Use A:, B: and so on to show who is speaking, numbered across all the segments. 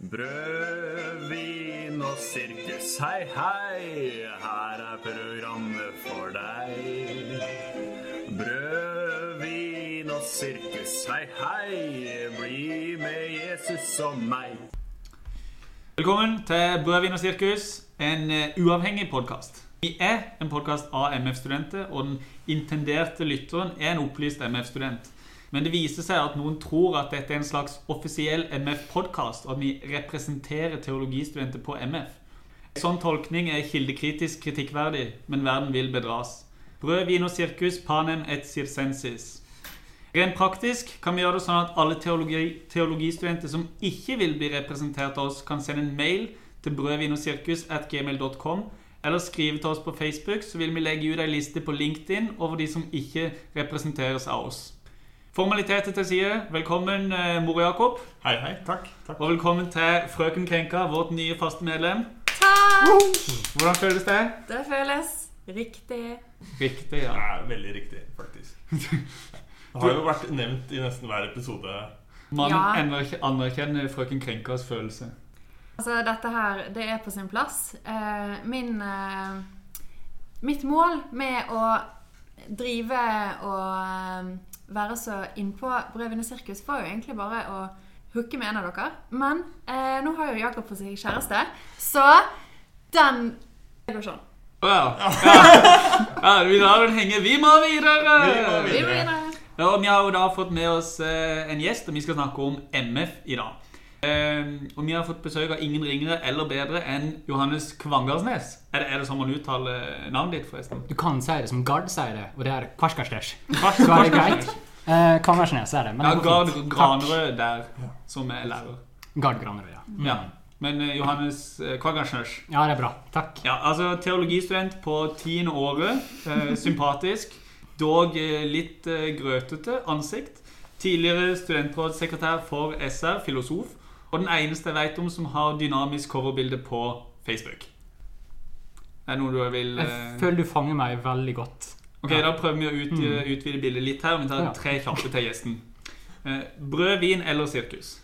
A: Brød, vin og sirkus, hei, hei. Her er programmet for deg. Brød, vin og sirkus, hei, hei. Bli med Jesus og meg.
B: Velkommen til Brødvin og sirkus, en eh, uavhengig podkast. Vi er en podkast av MF-studenter, og den intenderte lytteren er en opplyst MF-student. Men det viser seg at noen tror at dette er en slags offisiell MF-podkast, og at vi representerer teologistudenter på MF. En sånn tolkning er kildekritisk kritikkverdig, men verden vil bedras. Brød, vin og sirkus, panem et circensis. Rent praktisk kan vi gjøre det sånn at alle teologi, teologistudenter som ikke vil bli representert av oss, kan sende en mail til brødvinosirkus.gmail.com, eller skrive til oss på Facebook, så vil vi legge ut ei liste på LinkedIn over de som ikke representeres av oss. Formaliteter til side. Velkommen, eh, Mor Jakob.
C: Hei, hei. Takk. takk.
B: Og velkommen til Frøken Krenka, vårt nye faste medlem.
D: Takk!
B: Hvordan føles det?
D: Det føles riktig.
B: Riktig, ja.
C: Det er veldig riktig, faktisk. Det har jo vært nevnt i nesten hver episode.
D: Ja.
B: Mannen ja. anerkjenner Frøken Krenkas følelse.
D: Altså, dette her, det er på sin plass. Eh, min eh, Mitt mål med å drive og eh, være så innpå Brødvin og sirkus var jo egentlig bare å hooke med en av dere. Men eh, nå har jo Jakob på seg kjæreste, så den Det går sånn.
B: Å ja. ja. ja vi lar den henge. Vi må videre!
C: Vi må
D: Vi må videre.
B: Ja, og vi har jo da fått med oss eh, en gjest, og vi skal snakke om MF i dag. Eh, og vi har fått besøk av ingen ringere eller bedre enn Johannes Kvangarsnes. Er det, er det sånn man uttaler navnet ditt, forresten?
E: Du kan si det som Gard sier det, og det er Kvarskarsnes.
B: Kvars-
E: Så er det
B: Kvarsnes.
E: greit. Eh, Kvarskarsnes er det. Men
B: Ja,
E: det går
B: Gard
E: fint.
B: Granerød der, som er lærer.
E: Takk. Gard Granerød, ja.
B: Ja. Men eh, Johannes eh, Kvangarsnes
E: Ja, det er bra. Takk.
B: Ja, altså teologistudent på tiende året. Eh, sympatisk, dog eh, litt eh, grøtete ansikt. Tidligere studentrådssekretær for SR, filosof. Og den eneste jeg vet om som har dynamisk coverbilde på Facebook. Er det noe du vil
E: Jeg
B: eh,
E: føler du fanger meg veldig godt.
B: Ok, Da prøver vi å ut, eh, utvide bildet litt her. Vi tar
E: Mm. Ja.
B: tre kjappe til gjesten. Eh, brød, vin eller sirkus?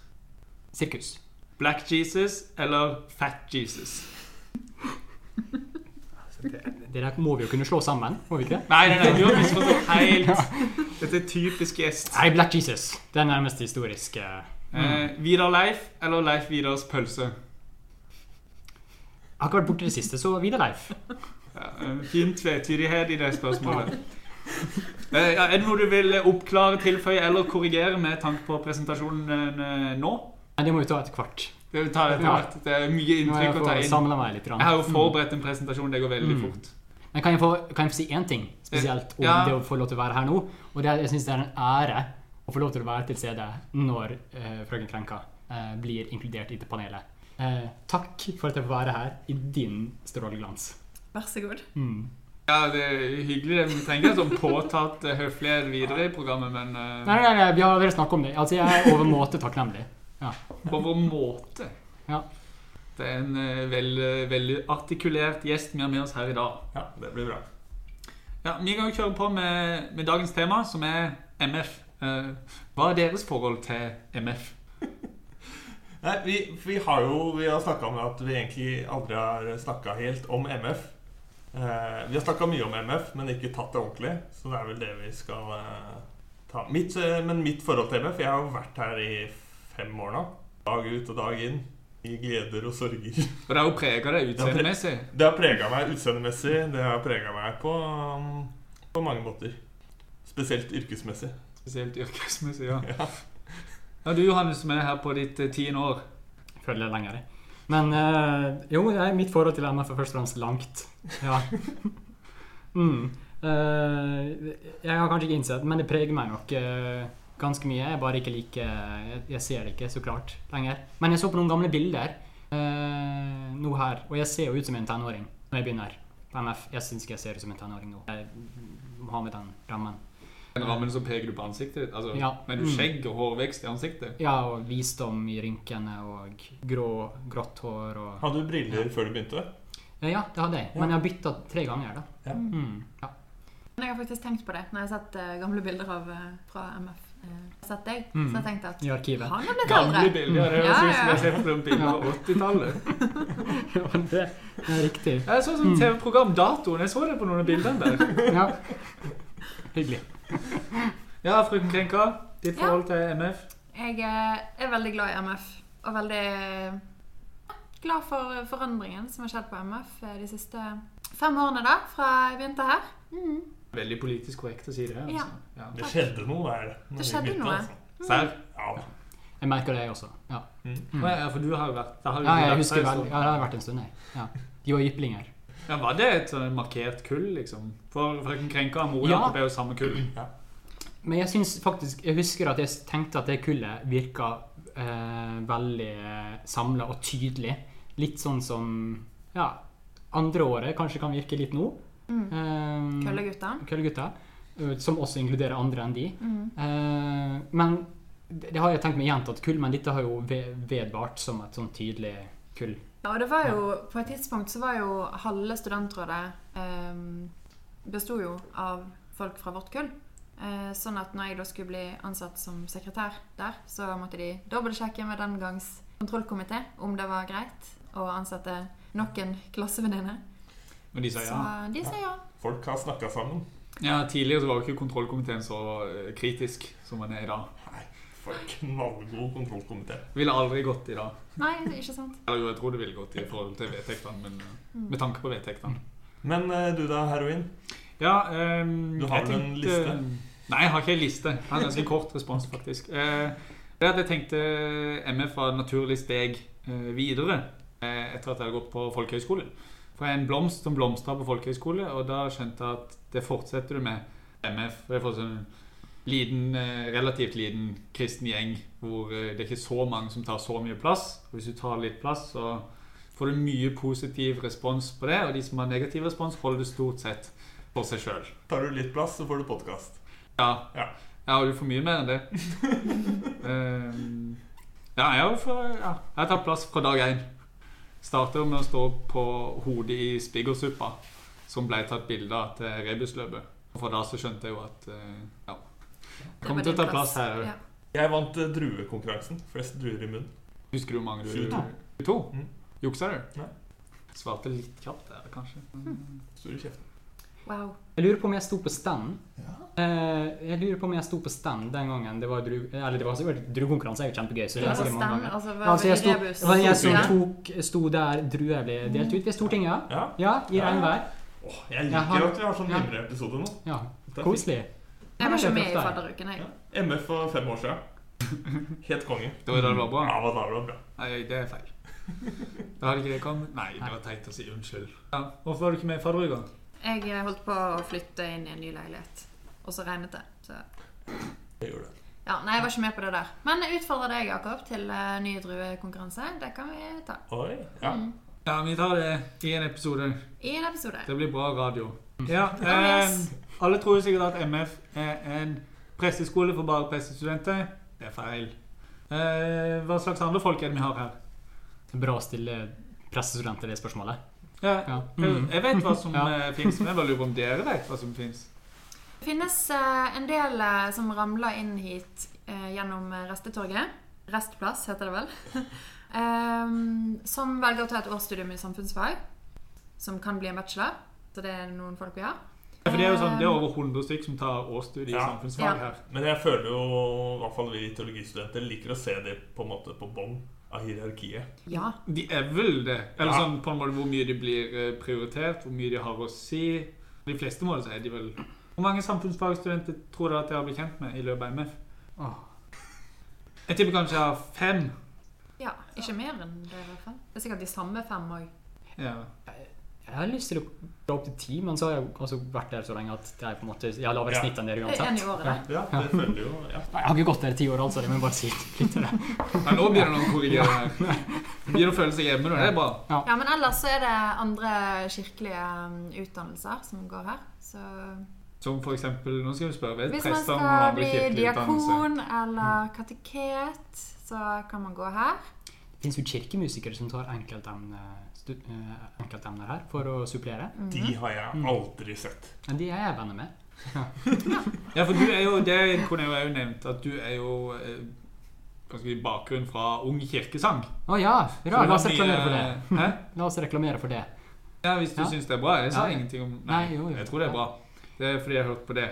E: Sirkus.
B: Black Jesus eller Fat Jesus?
E: Det der må vi jo kunne slå sammen, må vi ikke?
B: Nei, nei, nei, du har misforstått helt. Dette er typisk gjest.
E: Nei, Black Jesus. Det er nærmest historisk. eh.
B: Eh, Vidar Leif eller Leif Vidars pølse?
E: Jeg har ikke vært borte i det siste, så videre, Leif.
B: Ja, eh, fin tvetydighet i det spørsmålet. Eh, ja, er det noe du vil eh, oppklare, tilføye eller korrigere med tanke på presentasjonen eh, nå?
E: Nei, det må vi ta etter hvert.
B: Det tar jeg etter
E: Ja.
B: hvert. Det er mye
E: Nå må jeg
B: inntrykk å ta
E: få
B: inn.
E: samle meg litt. grann.
B: Jeg har jo forberedt en presentasjon. Det går veldig
E: Mm.
B: fort.
E: Men kan jeg, få, kan jeg få si én ting spesielt om
B: Ja.
E: det å få lov til å være her nå? Og det er, jeg syns det er en ære å få lov til å være til stede når eh, frøken Krenka eh, blir inkludert i det panelet. Eh, takk for at jeg får være her i din stråleglans.
D: Vær så god.
E: Mm.
B: Ja, det er hyggelig. det. Vi trenger en sånn påtatt eh, høflighet videre i programmet, men eh,
E: Nei, nei, nei, vi har allerede snakket om det. Altså, jeg er overmåte takknemlig.
B: på vår måte.
E: Ja.
B: Det er en eh, vel- veldig artikulert gjest vi har med oss her i dag.
C: Ja, Det blir bra.
B: Ja, Vi kan jo kjøre på med, med dagens tema, som er MF. Eh, hva er deres forhold til MF?
C: Nei, Vi, vi har jo vi har snakka om at vi egentlig aldri har snakka helt om MF. Eh, vi har snakka mye om MF, men ikke tatt det ordentlig. Så det er vel det vi skal eh, ta. Mitt, eh, men mitt forhold til MF Jeg har jo vært her i fem år nå. Dag ut og dag inn. I gleder og sorger.
B: Og Det har jo prega deg utseendemessig.
C: Det har prega meg utseendemessig. Det har prega meg på, um, på mange måter. Spesielt yrkesmessig.
B: Spesielt yrkesmessig, ja. Ja, Du Johannes, som er her på ditt eh, tiende år.
E: Jeg Føler det er lenger. Men eh, jo, nei, mitt forhold til MF er først og fremst langt. Ja. mm. Eh, jeg har kanskje ikke innsett, men det preger meg nok eh, ganske mye. Jeg er bare ikke like jeg, jeg ser det ikke så klart lenger. Men jeg så på noen gamle bilder eh, nå her, og jeg ser jo ut som en tenåring når jeg begynner på MF. Jeg syns ikke jeg ser ut som en tenåring nå. Jeg må ha med den rammen.
B: Den rammen som peker du på ansiktet ditt. Altså,
E: Ja.
B: Men du skjegg og hårvekst i ansiktet.
E: Ja, og visdom i rynkene og grå, grått hår og
C: Hadde du briller før du begynte?
E: Eh, Ja, det hadde jeg. Men jeg har bytta tre ganger, da.
C: Ja.
E: Mm, ja.
D: Men jeg har faktisk tenkt på det når jeg har sett eh, gamle bilder av, eh, fra MF. Eh, sett deg.
E: Mm.
D: Så jeg tenkte at
E: I arkivet.
D: han har blitt
B: Gamle
D: eldre.
B: bilder. Det
D: Ja,
B: høres ut som
D: ja.
B: jeg har sett på en film fra 80-tallet.
E: Ja, men det er riktig.
B: Jeg så sånn TV-program Datoen. Jeg så det på noen av bildene der.
E: Ja. Hyggelig.
B: Ja, frøken Krenka. Ditt forhold til MF?
D: Jeg eh, er veldig glad i MF, og veldig glad for forandringen som har skjedd på MF eh, de siste fem årene, da, fra jeg begynte her. Mm.
B: Veldig politisk korrekt å si det.
D: Ja.
B: Altså. Ja.
C: Det skjedde noe der. når
D: Det
C: vi
D: skjedde
C: begynte,
D: noe.
C: altså.
B: Serr?
C: Ja,
E: Jeg merker det, jeg også. Ja,
B: Å Ja, for du har jo vært der.
E: Mm. ja jeg husker
B: sånn.
E: vel, ja, det har vært en stund, jeg. Ja. De var jyplinger.
B: Ja, var det et sånn markert kull, liksom? For frøken Krenka og Moe
E: Ja.
B: Jakob er jo samme kull.
E: Men jeg syns faktisk Jeg husker at jeg tenkte at det kullet virka eh, veldig samla og tydelig. Litt sånn som Ja, andre året kanskje kan virke litt nå.
D: Mm.
E: Eh,
D: Køllegutta.
E: Køllegutta. eh, Som også inkluderer andre enn de.
D: Mm.
E: Eh, men det det har jeg tenkt meg gjentatt kull, men dette har jo ve- vedvart som et sånn tydelig kull.
D: Ja, og det var jo, på et tidspunkt så var jo halve studentrådet eh, bestod jo av folk fra vårt kull. Eh, sånn at når jeg da skulle bli ansatt som sekretær der, så måtte de dobbeltsjekke med den gangs kontrollkomité om det var greit å ansette nok en klassevenninne.
B: Og de sa
D: Så
B: ja.
D: de sa ja.
C: folk har snakka sammen.
B: ja. Tidligere så var jo ikke kontrollkomiteen så eh, kritisk som man er i dag.
C: Nei, for en knallgod kontrollkomité.
B: Ville aldri gått i dag.
D: Nei, ikke sant.
B: Eller jo, jeg tror det ville gått i forhold til vedtektene, men eh, med tanke på vedtektene.
C: Men eh, du da, heroin?
B: Ja, ehm,
C: Du har
B: jeg
C: vel en liste?
B: Nei, jeg har ikke en liste. Jeg har en ganske kort respons, faktisk. Eh, det er at jeg tenkte eh, MF var et naturlig steg eh, videre eh, etter at jeg hadde gått på folkehøyskole. For jeg er en blomst som blomstra på folkehøyskole, og da skjønte jeg at det fortsetter du med MF. Jeg får sånn liten, eh, relativt liten kristen gjeng hvor eh, det er ikke så mange som tar så mye plass. Og hvis du tar litt plass, så får du mye positiv respons på det, og de som har negativ respons, holder det stort sett for seg sjøl.
C: Tar du litt plass, så får du podkast.
B: Ja.
C: Ja.
B: Jeg har jo for mye mer enn det. Ehm, ja, jeg har jo for ja. Jeg har tatt plass fra dag én. Starter jo med å stå på hodet i spiggersuppa, som ble tatt bilde av til rebusløpet. Og fra da så skjønte jeg jo at eh, ja.
D: Det
B: Kommer
D: var
B: til å
D: din
B: ta plass her.
D: Ja.
C: Jeg vant eh, druekonkurransen. Flest druer i munnen.
B: Husker du hvor mange du
C: 22.
B: 22?
C: Mm.
B: Juksa du?
C: Nei.
B: Svarte litt kjapt der, kanskje.
C: Stor i kjeften.
D: Wow.
E: Jeg lurer på om jeg sto på stand. Eh, jeg lurer på om jeg sto på stand den gangen det var drug... Eller det var sikkert druekonkurranse, er jo kjempegøy. Så
D: Det
E: det er
D: var
E: sikkert mange
D: stand,
E: ganger.
D: altså,
E: Ja, altså jeg sto,
D: rebus.
E: det var jeg som
D: Ja.
E: tok, sto der druer ble delt ut ved Stortinget.
C: Ja.
E: Ja, i
C: Ja.
E: regnvær.
C: Åh, jeg liker
E: Jeg har-
C: at vi har sånn
E: Ja.
C: mimreepisode nå.
E: Ja,
C: Det er
E: koselig.
D: Jeg var ikke med i
E: Ja.
D: fadderuken, jeg.
C: Ja. MF for fem år siden. Helt konge.
B: Det var da det var bra?
C: Ja, hva da var det bra.
B: Nei, det er feil. Da hadde ikke det kommet. Nei, det var teit å si. Unnskyld. Ja. Hvorfor var du ikke med i fadderuka?
D: Jeg holdt på å flytte inn i en ny leilighet, og så regnet det. Så.
C: Jeg gjorde det.
D: Ja, nei, jeg var ikke med på det der. Men jeg utfordrer deg, Jakob, til eh, ny druekonkurranse. Det kan vi ta
C: Oi, ja.
B: Ja, vi tar det i en episode.
D: i en episode.
B: Det blir bra radio.
E: Mm.
B: Ja,
D: Ja,
B: eh,
D: yes.
B: alle tror sikkert at MF er en presteskole for bare prestestudenter. Det er feil. Eh, hva slags andre folk er det vi har her?
E: Bra å stille pressestudenter det spørsmålet.
B: Ja,
E: Ja.
B: jeg,
E: Mm.
B: jeg vet hva som
E: Ja.
B: eh, fins, men jeg bare lurer på om dere vet hva som fins.
D: Det finnes eh, en del eh, som ramler inn hit eh, gjennom eh, Restetorget. Restplass heter det vel. Ehm, som velger å ta et årsstudium i samfunnsfag, som kan bli en bachelor. Så det er noen folk vi har.
B: Ja, for Det er jo sånn, det er over 100 stykk som tar årsstudie i
C: Ja.
B: samfunnsfag
D: Ja.
B: her.
C: Men jeg føler jo, i hvert fall vi teologistudenter, liker å se det på en måte på bånn av hierarkiet.
D: Ja.
B: De er vel det. Eller
C: Ja.
B: sånn på en måte hvor mye de blir eh, prioritert, hvor mye de har å si. De fleste mål så er de vel Hvor mange samfunnsfagstudenter tror dere at jeg har blitt kjent med i løpet av MF?
E: Åh.
B: Jeg tipper kanskje jeg har fem.
D: ja. Ikke mer enn det, i hvert fall. Det er sikkert de samme fem òg.
B: Ja.
E: Jeg har lyst til å dra opp til ti, men så har jeg også vært der så lenge at jeg på en måte Jeg har lavere
C: Ja.
E: snitt enn dere
D: En i
E: uansett.
D: året. da.
C: Ja, det føler jo ja.
D: Mm.
E: Nei, Jeg har ikke gått der i ti år, altså. Det må jeg bare si. Litt til det.
B: Men nå begynner noen å korrigere her. Begynner å føle seg hjemme nå. Det er bra.
D: Ja, men ellers så er det andre kirkelige um, utdannelser som går her. Så
B: Som for eksempel Nå skal vi spørre vet
D: hvis man
B: prester om noen
D: skal
B: andre
D: bli
B: kirkelige utdannelser.
D: diakon eller kateket, så kan man gå her.
E: Det finnes jo kirkemusikere som tar enkeltemne- stu- eh, enkeltemner her for å supplere.
C: Mm. De har jeg aldri sett.
E: Men de er jeg venner med.
B: Ja, for du er jo, det kunne jeg jo også nevnt, at du er jo eh, hva skal vi si, bakgrunn fra Ung kirkesang.
E: Å ja!
B: Så
E: Bra,
B: det eh,
E: la oss
B: var mye-
E: reklamere for det.
B: Hæ?
E: La oss reklamere for det.
B: Ja, hvis du
E: Ja.
B: syns det er bra. Jeg sa
E: Ja.
B: ingenting om
E: Nei, jo, jo.
B: Jeg tror det er bra. Det er fordi jeg har hørt på det.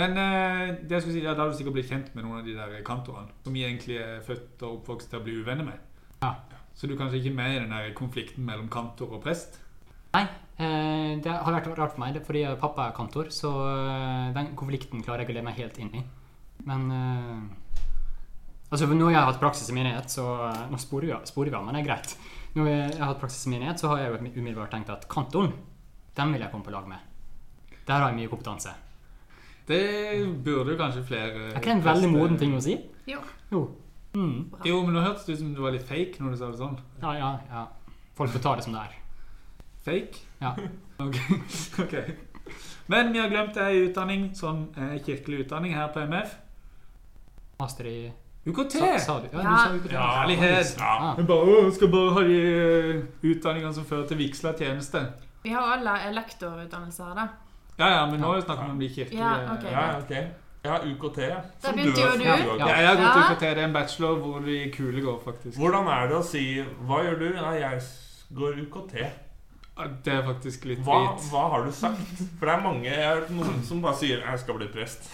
B: Men eh, det jeg skulle si, ja, da har du sikkert blitt kjent med noen av de der kantorene som vi egentlig er født og oppvokst til å bli uvenner med.
E: Ja.
B: Så du er kanskje ikke med i den der konflikten mellom kantor og prest?
E: Eh, Det har vært rart for meg, det er fordi pappa er kantor, så eh, den konflikten klarer jeg ikke å leve meg helt inn i. Men eh, Altså, for nå jeg har hatt praksis i menighet, så eh, Nå sporer vi, av- sporer vi av, men det er greit. Når jeg jeg har hatt praksis i menighet, så har jeg jo umiddelbart tenkt at kantoren, den vil jeg komme på lag med. Der har jeg mye kompetanse.
B: Det burde jo kanskje flere
E: Er ikke det en veldig
B: prester-
E: moden ting å si?
D: Jo.
E: Jo. Mm.
B: Jo, men nå hørtes det ut som du var litt fake når du sa det sånn.
E: Ja, ja, ja. Folk får ta det som det er.
B: Fake?
E: Ja.
B: Ok. ok. Men vi har glemt ei utdanning, sånn eh, kirkelig utdanning her på MF.
E: Master i
B: UKT!
E: Sa, sa du? Ja, du
D: Ja.
E: sa UKT.
B: Ærlighet.
C: Ja.
E: Ja.
B: Men bare, «Åh, skal bare ha de eh, utdanningene som fører til vigsla tjeneste.
D: Vi har alle lektorutdannelse her, da.
B: Ja, ja, men nå er det snakk om de kirkelige
D: Ja, ok.
C: Ja, ok. Jeg har UKT. ja.
D: Der
C: Som
D: begynte
C: har-
D: jo du.
C: som har
E: Ja.
B: Ja, jeg har gått
D: Ja.
B: UKT. Det er en bachelor hvor de kule går, faktisk.
C: Hvordan er det å si Hva gjør du? Nei, jeg s- går UKT.
B: Ja, Det er faktisk litt
C: Hva,
B: drit.
C: hva har du sagt? For det er mange jeg har hørt noen som bare sier 'jeg skal bli prest'.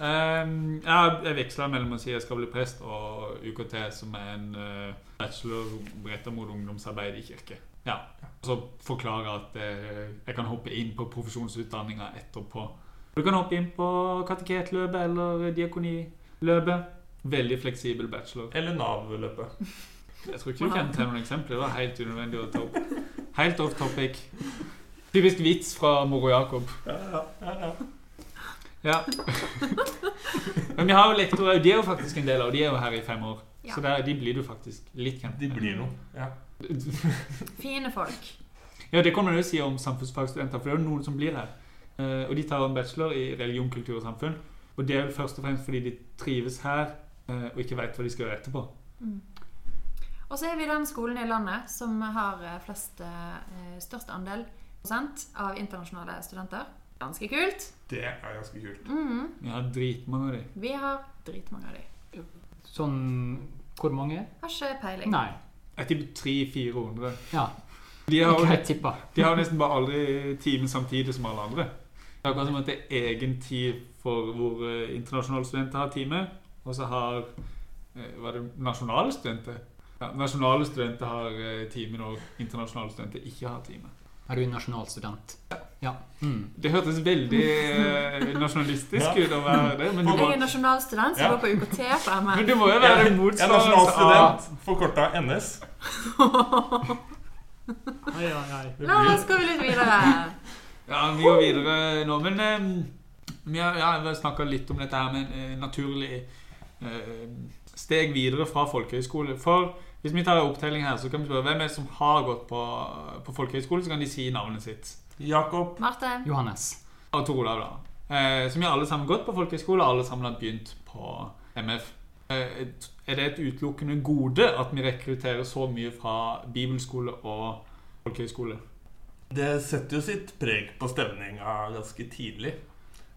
B: Ehm, ja, jeg veksla mellom å si jeg skal bli prest, og UKT, som er en eh, bachelor retta mot ungdomsarbeid i kirke. Ja. Og så forklare at eh, jeg kan hoppe inn på profesjonsutdanninga etterpå. Du kan hoppe inn på kateketløpet eller diakoniløpet. Veldig fleksibel bachelor.
C: Eller Nav-løpet.
B: Jeg tror ikke du kan ta noen eksempler. Det var helt unødvendig å ta opp. Helt off topic. Typisk vits fra Moro Jakob. Ja. Men vi har jo lektorer, og de er jo faktisk en del av, og de er jo her i fem år.
D: Ja.
B: Så der, de blir du faktisk litt kjent
C: De blir noe. Ja.
D: Fine folk.
B: Ja, det kommer du jo si om samfunnsfagstudenter, for det er jo noen som blir her. Eh, Og de tar en bachelor i religion, kultur og samfunn. Og det er vel først og fremst fordi de trives her, eh, og ikke veit hva de skal gjøre etterpå.
D: Og så er vi den skolen i landet som har eh, flest, eh, størst andel prosent av internasjonale studenter. Ganske kult.
C: Det er ganske kult.
D: Mhm.
B: Vi har dritmange av de.
D: Vi har dritmange av de.
E: Sånn Hvor mange?
D: Har ikke peiling.
E: Nei.
B: Jeg tipper 300-400.
E: Ja.
B: De har jo
E: Greit tippa.
B: De har nesten bare aldri timen samtidig som alle andre. Det er akkurat som at det er egen tid for hvor eh, internasjonale studenter har time, og så har eh, Var det nasjonale studenter? Ja, nasjonale studenter har eh, time når internasjonale studenter ikke har time.
E: Er du en nasjonal student? Ja. Mm.
B: Det hørtes veldig eh, nasjonalistisk
C: Ja.
B: ut å være det, men du,
D: Jeg er nasjonalstudent som
C: Ja.
D: går på UKT på
B: men
D: MF.
B: du må jo være
C: Jeg er nasjonal
B: motstander av
C: student, forkorta NS.
E: Ai, ai, ai.
C: Det
D: La
C: blir
D: oss gå litt videre.
B: Ja, vi går videre nå, men eh, vi har, ja, vi har snakka litt om dette her med eh, naturlig eh, steg videre fra folkehøyskole. For hvis vi tar en opptelling her, så kan vi spørre hvem er det som har gått på, på folkehøyskole, så kan de si navnet sitt.
C: Jakob.
D: Marte.
E: Johannes.
B: Og Tor Olav, da. Eh, som vi alle sammen har gått på folkehøyskole, og alle sammen har begynt på MF. Eh, er det et utelukkende gode at vi rekrutterer så mye fra bibelskole og folkehøyskole?
C: Det setter jo sitt preg på stemninga ganske tidlig.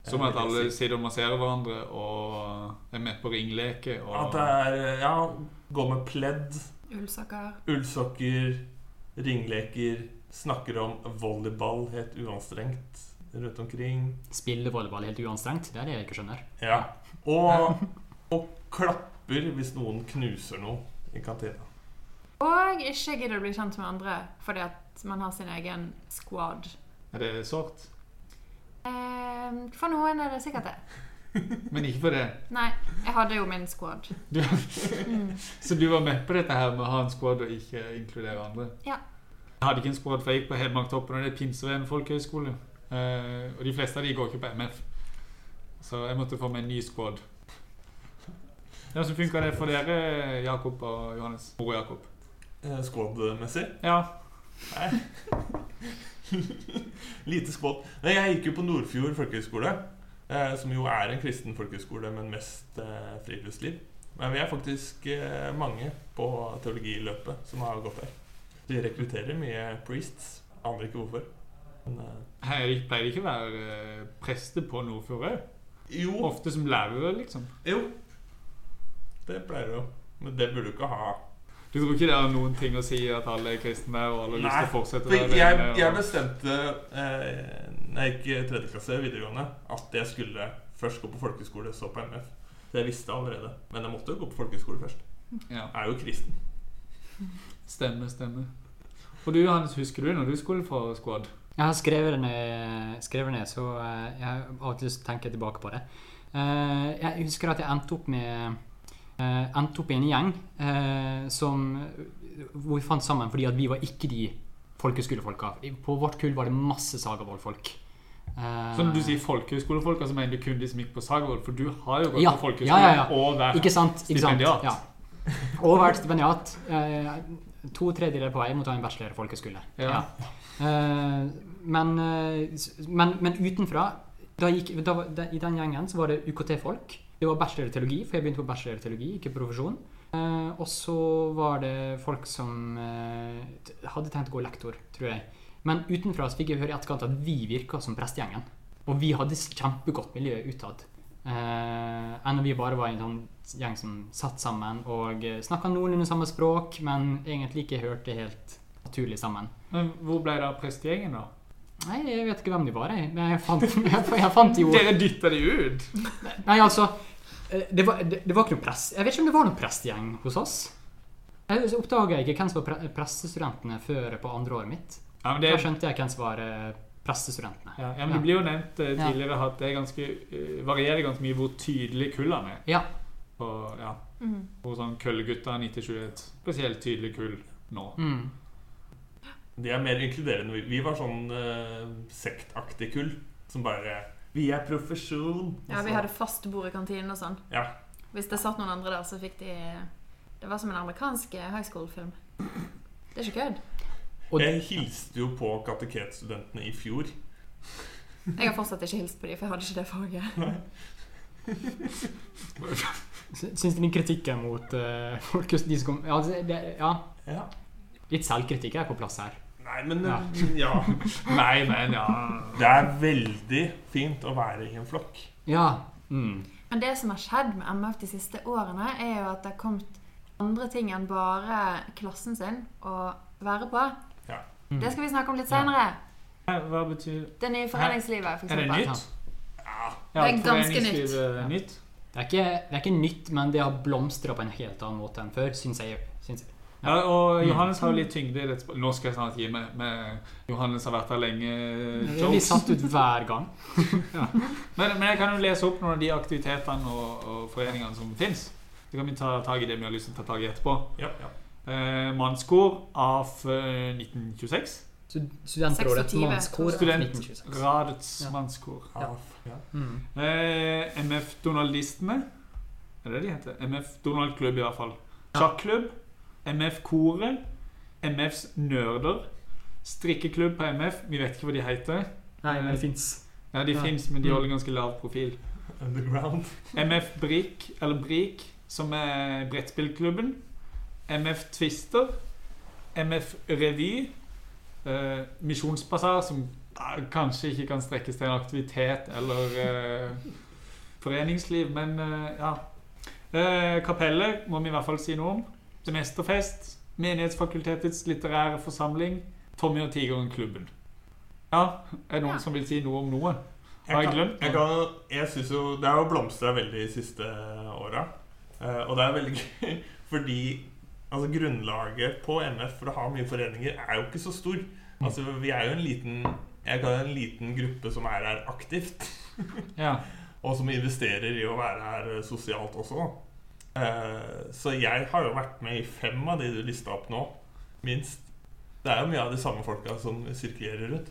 B: Som
C: Eh,
B: at alle
C: vil jeg si.
B: sitter og masserer hverandre og er med på ringleke. Og...
C: At det er eh, Ja, gå med pledd,
D: Ullsokker.
C: ullsokker, ringleker, snakker om volleyball helt uanstrengt rundt omkring.
E: Spille volleyball helt uanstrengt? Det er det jeg ikke skjønner.
C: Ja. Og, og klapper hvis noen knuser noe i kantina.
D: Og ikke gidder å bli kjent med andre fordi at man har sin egen squad.
B: Er det sårt?
D: Eh, for noen er det sikkert det.
B: Men ikke for det.
D: Nei, jeg hadde jo min squad.
B: Du... Så du var med på dette her med å ha en squad og ikke inkludere andre?
D: Ja.
B: Jeg hadde ikke en squad, for jeg gikk på Hedmarktoppen, og det er Pinseveen folkehøgskole. Eh, og de fleste av de går ikke på MF. Så jeg måtte få meg en ny squad. Ja, Så funka det for dere, Jakob og Johannes? Mor og Jakob.
C: Eh, Squad-messig.
B: Ja.
C: Lite squad. Nei, jeg gikk jo på Nordfjord folkehøgskole, eh, som jo er en kristen folkehøgskole, men mest eh, friluftsliv. Men vi er faktisk eh, mange på teologiløpet som har gått der. De rekrutterer mye priests. Aner ikke hvorfor. Men, eh,
B: Her pleier det ikke å være eh, prester på Nordfjord òg.
C: jo,
B: Ofte som lærere, liksom.
C: jo. Det pleier du jo. Men det burde du ikke ha.
B: Du tror ikke det har noen ting å si at alle er kristne og alle har lyst til å fortsette
C: for
B: det?
C: jeg, jeg bestemte eh, når jeg gikk i tredje klasse videregående, at jeg skulle først gå på folkeskole, så på MF. Det jeg visste allerede. Men jeg måtte jo gå på folkeskole først.
B: ja.
C: Jeg er jo kristen.
B: Stemme, stemme. Og du, Hans, husker du når du skulle få squad?
E: Jeg har skrevet det ned, skrevet ned så eh, jeg har alltid lyst til å tenke tilbake på det. Eh, Jeg husker at jeg endte opp med eh, endte opp i en gjeng eh, som, hvor vi fant sammen fordi at vi var ikke de folkeskolefolka. I- På vårt kull var det masse Sagavold-folk. Eh,
B: Så når du sier folkehøyskolefolk, altså mener du kun de som gikk på Sagavold? For du har jo gått
E: Ja,
B: på folkehøyskole
E: ja, ja, ja.
B: og vært
E: Ikke sant? Ikke sant?
B: Stipendiat.
E: Ja. Og vært stipendiat. Eh, To tredjedeler på vei mot å ha en bachelor i folkeskole.
B: Ja.
E: Eh, Men, eh, s- men, men utenfra da gikk, da, var- da, I den gjengen så var det UKT-folk. Det var bachelor i teologi, for jeg begynte på bachelor i teologi, ikke profesjon. Eh, og så var det folk som eh, t- hadde tenkt å gå lektor, tror jeg. Men utenfra så fikk jeg høre i etterkant at vi virka som prestegjengen. Og vi hadde s- kjempegodt miljø utad. Eh, enn om vi bare var en sånn gjeng som satt sammen og snakka noenlunde samme språk, men egentlig ikke hørte helt naturlig sammen.
B: Men hvor ble det av prestegjengen, da?
E: Nei, jeg vet ikke hvem de var, jeg. Men jeg fant, jeg, jeg fant jo
B: Dere dytta de ut!
E: Nei, altså eh, Det var, det, det var ikke noen prest... Jeg vet ikke om det var noen prestegjeng hos oss. Jeg oppdaga ikke hvem som var pre prestestudentene før på andre året mitt.
B: Ja, men det
E: Da
B: er
E: skjønte jeg hvem som var eh, prestestudentene.
B: Ja, ja, men Det
E: Ja.
B: blir jo nevnt eh,
E: Ja.
B: tidligere at det er ganske, eh, varierer ganske mye hvor tydelig kullene er.
E: Ja.
B: På, ja,
D: Mm.
B: på sånn Køllegutta 90-20 er et spesielt tydelig kull nå.
E: Mm.
C: De er mer inkluderende. Vi- Vi var sånn eh, sektaktig kull som bare Vi er profesjon. og
D: Ja, vi
C: så-
D: hadde fast bord i kantinen og sånn.
C: Ja.
D: Hvis det satt noen andre der, så fikk de Det var som en amerikansk eh, high school-film. Det er ikke kødd.
E: Og-
C: Jeg hilste jo på kateketstudentene i fjor.
D: Jeg har fortsatt ikke hilst på dem, for jeg hadde ikke det faget.
E: Sy- Syns du den kritikken mot eh, folk de som kom ja, det, det- ja,
C: Ja.
E: litt selvkritikk er på plass her.
C: Nei, men
E: Ja.
C: eh, ja.
B: Nei, men ja
C: Det er veldig fint å være i en flokk.
E: Ja. Mm.
D: Men det som har skjedd med MF de siste årene, er jo at det har kommet andre ting enn bare klassen sin å være på.
C: Ja.
E: Mm.
D: Det skal vi snakke om litt senere.
B: Hva betyr
D: Det nye foreningslivet, f.eks.
B: Er det nytt?
C: Ja,
B: Ja,
D: Det er ganske
B: foreningsliv
D: nytt.
B: er
E: Ja.
B: nytt.
E: Det er, ikke, det er ikke nytt, men det har blomstra på en helt annen måte enn før, syns jeg. Synes jeg.
B: Ja, Mm. og Johannes har jo litt tyngde i dette sp- Nå skal jeg snart gi meg. Med Johannes har vært her lenge.
E: Vi blir
B: Jokes.
E: satt ut hver gang.
B: Men, men jeg kan jo lese opp noen av de aktivitetene og, og foreningene som fins. Så kan vi ta tak i det vi har lyst til å ta tak i etterpå.
C: ja, ja.
B: Eh, Mannskor av eh, 1926.
E: Stud- Studentrådet
D: 26,
E: mannskor
D: tror
B: jeg.
E: 1926.
B: Radets
E: Ja.
B: mannskor.
C: Ja. ja.
E: Mm.
B: Eh, MF Donaldistene. Er det det de heter? MF Donald Klubb, i hvert fall.
E: Ja.
B: Sjakklubb. MF Koret. MFs Nerder. Strikkeklubb på MF. Vi vet ikke hva de heter.
E: Nei, men det fins.
B: Ja, De
E: Ja.
B: finnes, men de
E: Mm.
B: holder ganske lav profil.
C: Underground.
B: MF Brik, eller Brik, som er brettspillklubben. MF Twister. MF Revy. Eh, Misjonsbasar, som eh, kanskje ikke kan strekkes til en aktivitet eller eh, foreningsliv, men eh, ja. Eh, kapellet må vi i hvert fall si noe om. Semesterfest. Menighetsfakultetets litterære forsamling. Tommy og Tigeren-klubben. Ja, er det noen
D: Ja.
B: som vil si noe om noe? Har
C: Jeg,
B: jeg
C: kan,
B: glemt
C: jeg,
B: noe?
C: kan, jeg synes jo Det har jo blomstra veldig de siste åra. Eh, og det er veldig gøy, fordi altså, grunnlaget på MF for å ha mye foreninger er jo ikke så stor. Altså, vi er jo en liten Jeg kan en liten gruppe som er her aktivt.
B: Ja.
C: Og som investerer i å være her eh, sosialt også. Eh, Så jeg har jo vært med i fem av de du lista opp nå. Minst. Det er jo mye av de samme folka som sirkulerer rundt.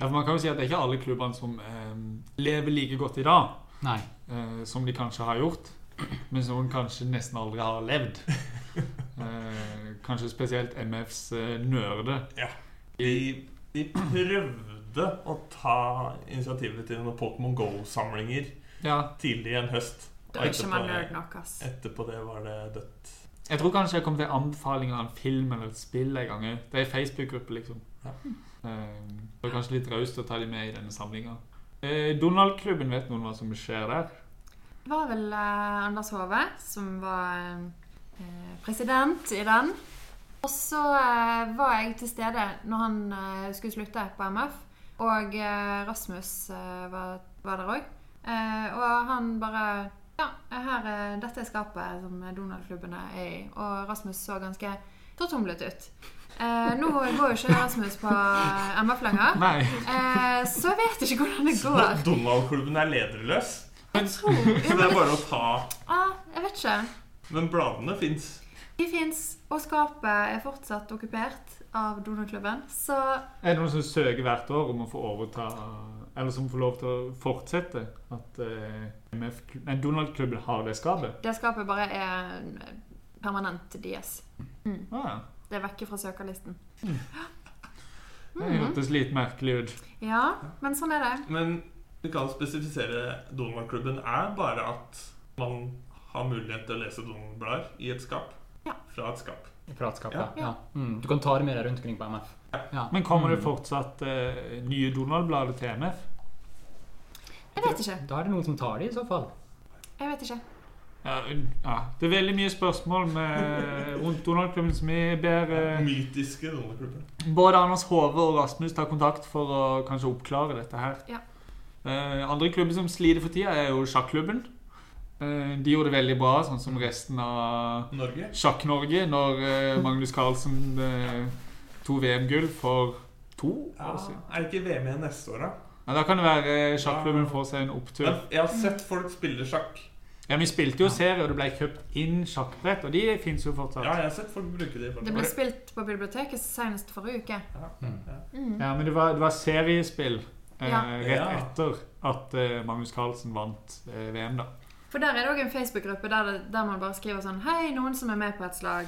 B: Ja, for Man kan jo si at det er ikke alle klubbene som eh, lever like godt i dag
E: Nei.
B: eh, som de kanskje har gjort, men som kanskje nesten aldri har levd. Eh, kanskje spesielt MFs eh, nørde.
C: De, de prøvde å ta initiativet til noen Pokémon GO-samlinger
B: Ja,
C: tidlig en høst.
D: Da er ikke man nerd nok, ass.
C: etterpå det var det dødt.
B: Jeg tror kanskje jeg kom til anbefaling av en film eller et spill en gang. Det er ei Facebook-gruppe, liksom.
C: Ja.
B: Eh, Det var kanskje litt raust å ta de med i denne samlinga. Eh, Donald-klubben, vet noen hva som skjer der?
D: Det var vel eh, Anders Hove som var eh, president i den. Og så eh, var jeg til stede når han eh, skulle slutte på MF. Og eh, Rasmus eh, var, var der òg. Eh, og han bare Ja, her, eh, dette er skapet som Donald-klubbene er i. Og Rasmus så ganske tortumlet ut. Eh, nå går jo ikke Rasmus på MF lenger.
B: Nei.
D: Eh, så jeg vet ikke hvordan det
C: Så
D: går.
C: Donald-klubben er lederløs.
D: Jeg tror
C: Så det er bare å ta
D: ah, Jeg vet ikke.
C: Men bladene fins.
D: De fins, og skapet er fortsatt okkupert av donorklubben. Så
B: Er det noen som søker hvert år om å få overta Eller som får lov til å fortsette? At eh, MF -kl- nei, Donald-klubben har det skapet?
D: det skapet bare er permanent DS.
B: Ah,
D: Det er vekke fra søkerlisten.
B: det
D: Mhm.
B: hørtes litt merkelig ut.
D: Ja, men sånn er det.
C: Men vi kan spesifisere Donald-klubben er bare at man har mulighet til å lese Donald-blader i et skap.
D: Ja.
C: Fra et skap.
E: Pratskap,
C: Ja.
E: ja. ja. Mm. Du kan ta det med deg rundt omkring på MF. Ja.
B: Men kommer det fortsatt eh, nye Donald-blader til MF?
D: Jeg vet ikke.
E: Da er det noen som tar det, i så fall.
D: Jeg vet ikke.
B: Ja, ja. Det er veldig mye spørsmål med, rundt Donald-klubben som vi ber eh,
C: Mytiske Donald-klubben.
B: Både Anders Hove og Rasmus tar kontakt for å kanskje oppklare dette her.
D: Ja.
B: Eh, andre klubber som sliter for tida, er jo sjakklubben. Eh, de gjorde det veldig bra, sånn som resten av
C: Norge.
B: Sjakk-Norge, når eh, Magnus Carlsen eh, to VM-gull for to
C: Ja,
B: år siden.
C: er det ikke E VM igjen neste år, da?
B: Ja, da kan det være eh, sjakklubben får seg en opptur.
C: Men jeg har sett folk spille sjakk.
B: Ja, Vi spilte jo serie, og det ble kjøpt inn sjakkbrett, og de fins jo fortsatt.
C: Ja, jeg har sett folk bruke det. i
D: Det ble
C: forhold til-
D: spilt på biblioteket senest forrige uke.
C: Ja,
E: Mm.
C: ja.
B: Ja, men det var, det var seriespill eh,
D: Ja.
B: rett
C: Ja.
B: etter at eh, Magnus Carlsen vant eh, VM, da.
D: For der er det òg en Facebook-gruppe der, det- der man bare skriver sånn Hei, noen som er med på et slag.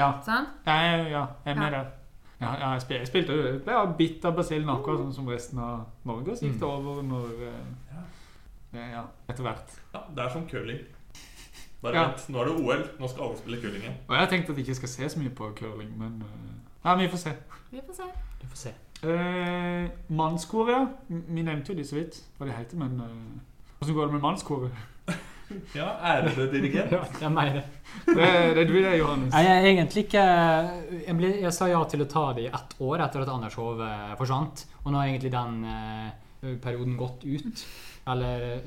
B: Ja.
D: Sånn?
B: Ja, jeg, ja, jeg er med
D: Ja.
B: der. Ja, ja, jeg, spil, jeg spilte jo ble jo bitt av basillen akkurat sånn som resten av Norge, og så gikk det
C: Mm.
B: over når eh, eh, Ja, etter hvert.
C: Ja, det er som curling. Bare
B: Ja.
C: vent, nå er det OL. Nå skal alle spille curling igjen.
B: Og jeg har tenkt at jeg ikke skal se så mye på curling, men eh, Ja, vi får se.
D: Vi får se.
E: Du får se.
B: Eh, mannskoret, ja. M- Vi nevnte jo de så vidt hva de heter, men eh, Hvordan går det med mannskoret?
C: Ja, ærede dirigent.
E: Ja, det er meg, det.
B: Det, det er du det, Johannes.
E: Nei, jeg er egentlig ikke jeg, ble, jeg sa ja til å ta det i ett år etter at Anders Hove eh, forsvant. Og nå har egentlig den eh, perioden gått ut. Eller eh,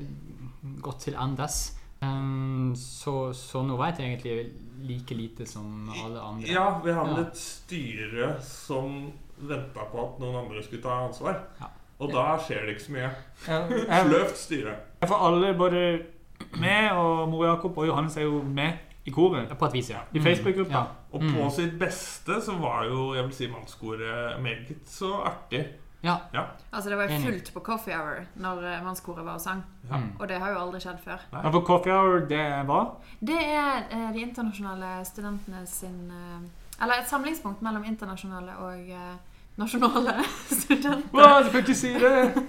E: gått til endes. Ehm, så, så nå vet jeg egentlig like lite som alle andre.
C: Ja, vi hadde
E: Ja.
C: et styre som venta på at noen andre skulle ta ansvar.
E: Ja.
C: Og da skjer det ikke så mye.
B: Ja, jeg-
C: Sløvt styre.
B: Ja, For alle, både meg og Mor Jakob og Johannes, er jo med i koret.
E: På et vis, ja. Mm.
B: I Facebook-gruppa.
E: Ja.
C: Og på sitt beste så var jo jeg vil si mannskoret meget så artig.
E: ja.
D: Altså, det var jo
E: Enig.
D: fullt på Coffee Hour når eh, mannskoret var og sang.
C: Ja.
E: Mm.
D: Og det har jo aldri skjedd før.
B: Ja, for Coffee Hour, det var
D: Det er eh, de internasjonale studentene sin eh, Eller et samlingspunkt mellom internasjonale og eh, nasjonale studenter.
B: Wow, du kan ikke si det!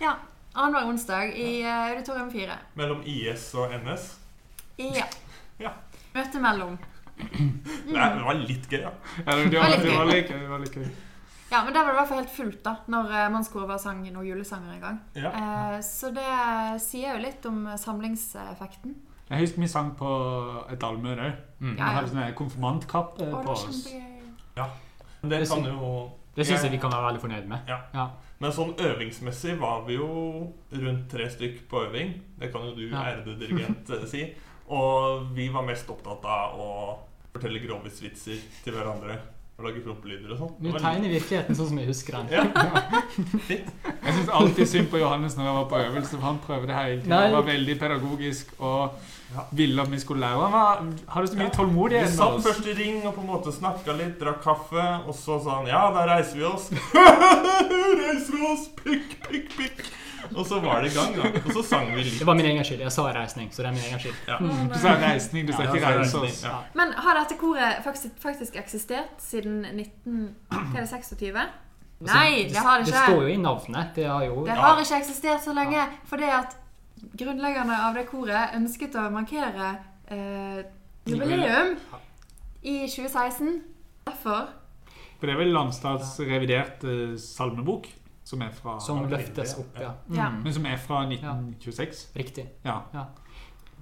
D: Ja, Annenhver onsdag i eh, Auditorium 4.
C: Mellom IS og NS.
D: Ja.
C: Ja.
D: Møte mellom.
C: Det er- det var litt gøy, ja.
B: Ja, det, det,
D: var
B: var,
D: litt
B: det,
D: gøy.
B: var like, det var like.
D: Ja, men der var det i hvert fall helt fullt da Når eh, mannskoret bare sang noen julesanger en gang.
C: ja.
D: Eh, så det sier jo litt om eh, samlingseffekten.
B: Jeg husker vi sang på et allmøte òg.
E: Mm.
B: Vi hadde sånne konfirmantkapp eh,
D: Å, det
B: på
D: var
B: oss.
D: kjempegøy.
C: Det kan jo
E: Det syns jeg vi kan være veldig fornøyd med.
C: Men sånn øvingsmessig var vi jo rundt tre stykk på øving. Det kan jo du,
E: Ja.
C: ærede dirigent, eh, si. Og vi var mest opptatt av å fortelle grovisvitser til hverandre. Og lage prompelyder og sånn.
E: Nå
C: Det var litt-
E: tegner virkeligheten sånn som jeg husker den.
C: Ja.
B: Jeg syns alltid synd på Johannes når jeg var på øvelse, for han prøvde hele tiden.
E: Nei.
B: Han var veldig pedagogisk
C: Ja.
B: og ville at vi skulle lære. Han var, hadde så
C: Ja.
B: mye
C: Vi
B: tålmodighet
C: satt først i ring og på en måte snakka litt, drakk kaffe, og så sa han ja, da reiser vi oss. reiser vi oss! Pikk, pikk, pikk. Og så var det i gang, da. Og så sang vi litt.
E: Det var min egen skyld. Jeg sa reisning, så det er min egen skyld.
C: Ja.
B: Du sa reisning, du sa
C: Ja,
B: ikke
C: det var
B: reise
C: reisning,
B: oss.
C: ja.
D: Men har dette koret faktisk, faktisk eksistert siden 1926? Nei, det har det ikke.
E: Altså, Det står jo i navnet. Det har jo
D: Det har ikke eksistert så lenge, fordi at grunnleggerne av det koret ønsket å markere eh, jubileum i 2016. Derfor
B: For det er vel Landstads reviderte salmebok, som er fra
E: Som løftes opp, ja.
D: Ja.
E: Mm.
B: men som er fra 1926.
E: Riktig.
B: Ja.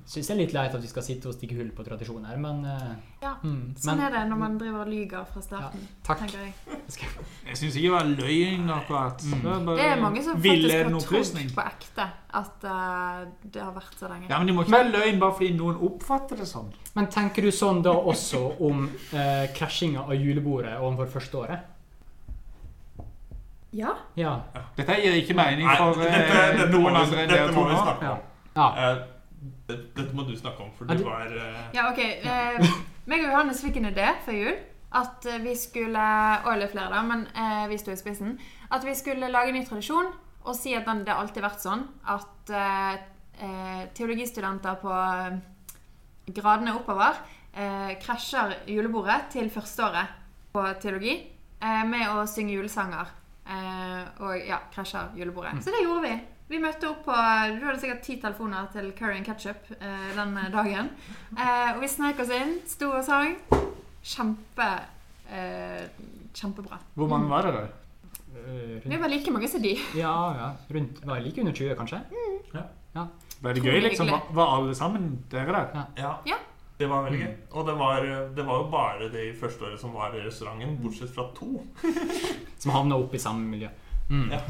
E: Syns det er litt leit at vi skal sitte og stikke hull på tradisjoner, men eh,
D: Ja.
E: mm,
D: Sånn
E: men-
D: er det når man driver og lyver fra starten.
E: Takk.
D: tenker jeg.
B: Jeg syns ikke det var løgn, akkurat.
C: Mm.
B: var bare
D: Det er mange som faktisk har
B: villedende opplysning.
D: trodd på ekte at eh, det har vært så lenge.
B: Ja, men det må ikke være løgn bare fordi noen oppfatter det sånn.
E: Men tenker du sånn da også om eh, krasjinga av julebordet overfor første året?
D: Ja.
E: Ja.
B: Dette gir ikke mening
C: Nei,
B: for eh,
C: dette, dette, må
B: noen
C: vi,
B: andre enn
C: dette
B: dere
C: må
B: to
C: vi
B: nå.
C: snakke om.
E: ja.
C: Eh, det- dette må du snakke om, for
E: Ja,
C: du
E: du-
C: var eh,
D: Ja, ok. Eh, meg og Johannes fikk en idé før jul. At eh, vi skulle Og det er flere, da, men eh, vi sto i spissen. At vi skulle lage en ny tradisjon og si at den, det har alltid vært sånn at eh, eh, teologistudenter på eh, gradene oppover eh, krasjer julebordet til førsteåret på teologi eh, med å synge julesanger. Eh, og ja, krasjer julebordet. Så det gjorde vi. Vi møtte opp på Du hadde sikkert ti telefoner til Curry and Ketchup eh, den dagen. Eh, og vi snek oss inn, sto og sang. Kjempe eh, Kjempebra.
B: Hvor mange var dere?
E: Eh,
D: Vi
E: rundt,
D: var like mange som de.
E: ja, ja. Rundt, var like under 20, kanskje?
B: Ble det gøy, liksom? Var- Var alle sammen dere der?
C: Ja.
D: Ja.
C: Det var veldig gøy.
E: Mm.
C: Og det var, det var jo bare det i første året som var i restauranten, bortsett fra to.
E: Som havna opp i samme miljø. Mm.
C: Ja.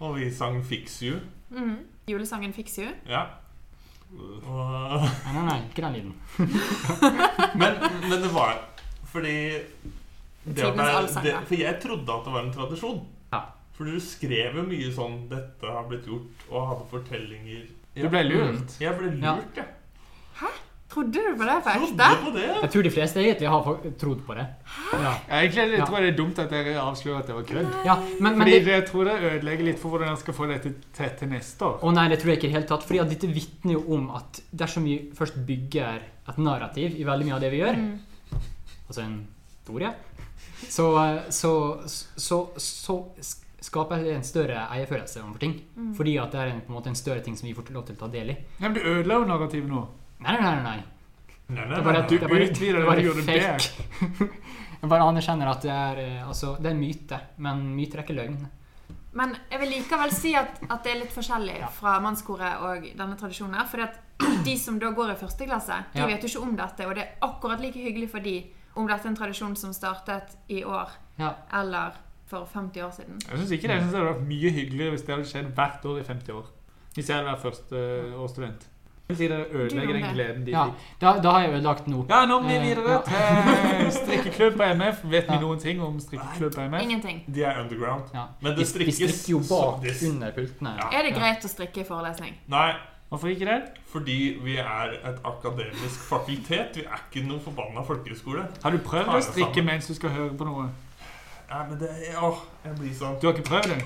C: Og vi sang 'Fix You'.
D: Mhm. Julesangen 'Fix You'.
C: Ja. Og,
E: Nei, nei, nei, ikke den lyden.
C: men, men det var Fordi det at
D: Tidenes
C: jeg,
D: allsang,
C: det,
D: ja.
C: For jeg trodde at det var en tradisjon.
E: Ja.
C: For du skrev jo mye sånn 'Dette har blitt gjort', og hadde fortellinger.
B: Du ble lurt.
C: Jeg ble
E: Ja.
C: lurt, jeg.
D: Trodde du på det på ekte?
C: Trodde på det.
E: Jeg tror de fleste egentlig har fo- trodd på det. Ja,
B: Egentlig jeg
E: Ja.
B: tror jeg det er dumt at dere avslører at det var kødd.
E: ja men, men
B: Fordi
E: det,
B: det, jeg tror det ødelegger litt for hvordan jeg skal få dette til til neste år.
E: Å nei, det tror jeg ikke i det hele tatt. Fordi at dette vitner jo om at dersom vi først bygger et narrativ i veldig mye av det vi gjør,
D: Mm.
E: altså en historie, så, så, så, så sk- skaper det en større eierfølelse overfor ting. Fordi at det er en, på en måte en større ting som vi får lov til å ta del i.
B: Nei, men Du ødela jo narrativet nå.
E: Nei, nei, nei. nei.
C: Nei, nei,
E: Det er bare
C: nei,
E: at
B: Du
E: det er bare-
B: utvider
E: det er
B: det
E: bare
B: du gjorde
E: fake. Jeg bare anerkjenner at det er, eh, altså, det er en myte, men myter er ikke løgn.
D: Men jeg vil likevel si at, at det er litt forskjellig fra mannskoret og denne tradisjonen her. Fordi at de som da går i første klasse, de
E: Ja.
D: vet jo ikke om dette. Og det er akkurat like hyggelig for de om dette er en tradisjon som startet i år
E: Ja.
D: eller for 50 år siden.
B: Jeg synes ikke det. Jeg synes det hadde vært mye hyggeligere hvis det hadde skjedd hvert år i 50 år. Hvis jeg hadde vært førsteårsstudent. Jeg vil si det ødelegger den gleden de
E: Ja,
B: fikk.
E: da, da har jeg ødelagt noe.
B: Ja, nå må vi
E: Eh,
B: videre
E: ja.
B: til strikkeklubb på MF. Vet vi
E: Ja.
B: noen ting om strikkeklubb på MF?
D: Ingenting.
C: De er underground.
E: Ja.
C: Men det
E: Vi vi
C: strikkes
E: strikker jo
C: så-
E: bak
C: det s-
E: under pultene.
C: Ja.
D: Er det greit å strikke i forelesning?
C: Nei,
B: Hvorfor ikke det?
C: fordi vi er et akademisk fakultet. Vi er ikke noen forbanna folkehøyskole.
B: Har du prøvd
C: Ta
B: å
C: det
B: strikke
C: sammen.
B: mens du skal høre på noe?
C: Nei, men det Åh, jeg blir sånn
B: Du har ikke prøvd det?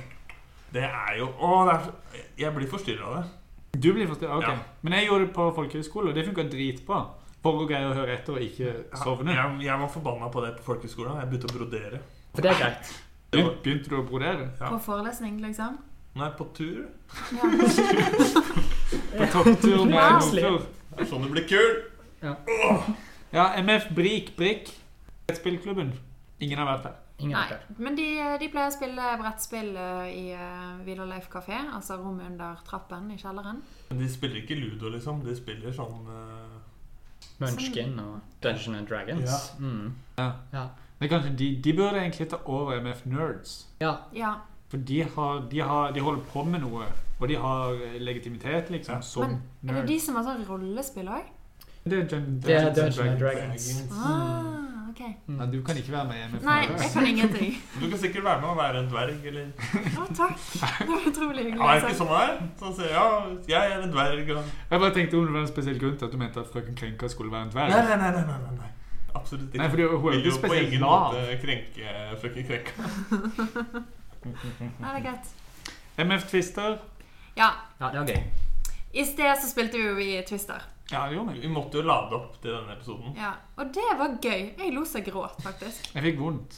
C: Det er jo Åh, det er så Jeg blir forstyrra av det.
B: Du blir forstyrret? Ok.
C: Ja.
B: Men jeg gjorde det på folkehøyskole, og det funka dritbra. For å greie å høre etter og ikke sovne.
C: Jeg, jeg var forbanna på det på folkehøyskolen. Jeg begynte å brodere.
E: For det er greit.
C: Det
B: Begyn-
C: var,
B: Begynte du å brodere?
C: Ja.
D: På forelesning, liksom?
C: nei, på tur.
D: Ja.
B: På topptur med
E: Plutselig.
B: Nordfjord?
C: Det er sånn du blir kul!
B: Ja, MF Brik Brik. Spillklubben. Ingen har vært der.
E: Ingen
D: Nei.
E: har hørt.
D: Men de, de pleier å spille brettspill eh, i eh, Vidar Leif kafé, altså rommet under trappen i kjelleren.
C: Men de spiller ikke ludo, liksom. De spiller sånn eh,
E: Munchkin og Dungeon and Dragons.
C: Ja.
E: Mm.
B: Men kanskje de, de burde egentlig ta over MF Nerds.
E: ja.
D: Ja,
B: For de, har, de, har, de holder på med noe, og de har legitimitet, liksom,
C: Ja.
B: som
D: Er det
B: nerd.
D: de som har sånn rollespill òg?
B: Det er Dun-
E: Det
B: Dungeons
E: er
B: and
E: Dungeon and
B: Dragons.
E: Dragons.
D: Ah, ok.
B: Ja, du kan ikke være med i MF
D: Nei, jeg
B: Nerds.
D: kan ingenting.
C: Du kan sikkert være med og være en dverg, eller
D: Å, takk. Det var
C: Ja, er det
D: utrolig hyggelig. altså.
C: ikke sånn det er? Sånn sier jeg, ja, jeg er en dverg. Og...
B: Jeg bare tenkte om det var en spesiell grunn til at du mente at frøken Krenka skulle være en
C: Nei,
B: dverg.
C: nei, nei, nei, nei, nei. Absolutt ikke.
B: Nei, fordi hun er jo
C: Vil
B: ikke
C: jo på
B: spesielt
C: ingen
B: lav.
C: måte krenke frøken Krenka.
D: Ja, det er greit.
B: MF Twister.
D: Ja,
E: Ja, det var gøy.
D: i sted så spilte vi jo i Twister.
B: Ja, det gjorde meg.
C: Vi måtte jo lade opp til denne episoden.
D: Ja, Og det var gøy. Jeg lo så jeg gråt, faktisk.
B: Jeg fikk vondt.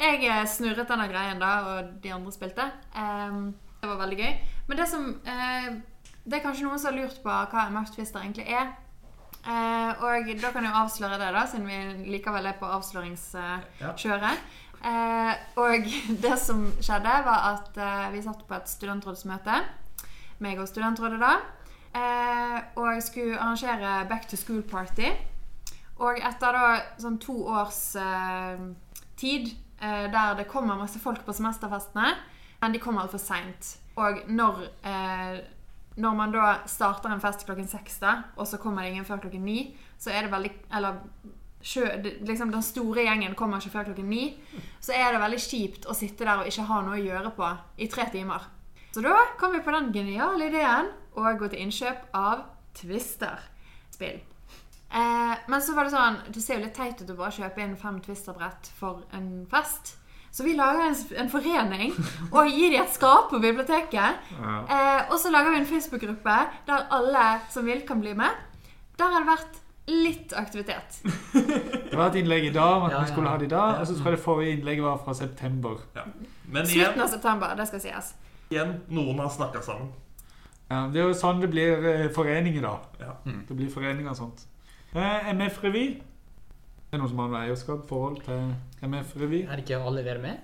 D: Jeg eh, snurret denne greien da, og de andre spilte. Ehm, det var veldig gøy. Men det som eh, Det er kanskje noen som har lurt på hva MF Twister egentlig er. Eh, og da kan jeg jo avsløre det, da, siden vi likevel er på
C: Ja.
D: avsløringskjøret. Eh, og det som skjedde, var at eh, vi satt på et studentrådsmøte, meg og studentrådet da, eh, og skulle arrangere back to school party. Og etter da sånn to års eh, tid eh, der det kommer masse folk på semesterfestene, men de kommer altfor seint. Og når, eh, når man da starter en fest klokken seks, da, og så kommer det ingen før klokken ni, så er det veldig Eller sjø, det- liksom den store gjengen kommer ikke før klokken ni. Så er det veldig kjipt å sitte der og ikke ha noe å gjøre på i tre timer. Så da kom vi på den geniale ideen å gå til innkjøp av Twister-spill. Eh, men så var det sånn Det ser jo litt teit ut å bare kjøpe inn fem Twister-brett for en fest. Så vi lager en, s- en forening og gir de et skap på biblioteket. Eh, og så lager vi en Facebook-gruppe der alle som vil, kan bli med. Der har det vært litt aktivitet.
B: Det var et innlegg i dag om at
E: Ja,
B: vi skulle
E: ja.
B: ha det i dag. Og så tror jeg det forrige innlegget var fra september.
C: Men
D: Slutten
C: igjen,
D: av september, det skal sies.
C: igjen noen har snakka sammen.
B: Ja, det er jo sånn det blir eh, foreninger, da.
C: Ja.
B: Mm. Det blir foreninger og sånt. Eh, MF Revy. Det er noen som har noe eierskap forhold til MF Revy.
E: Er det ikke alle dere med?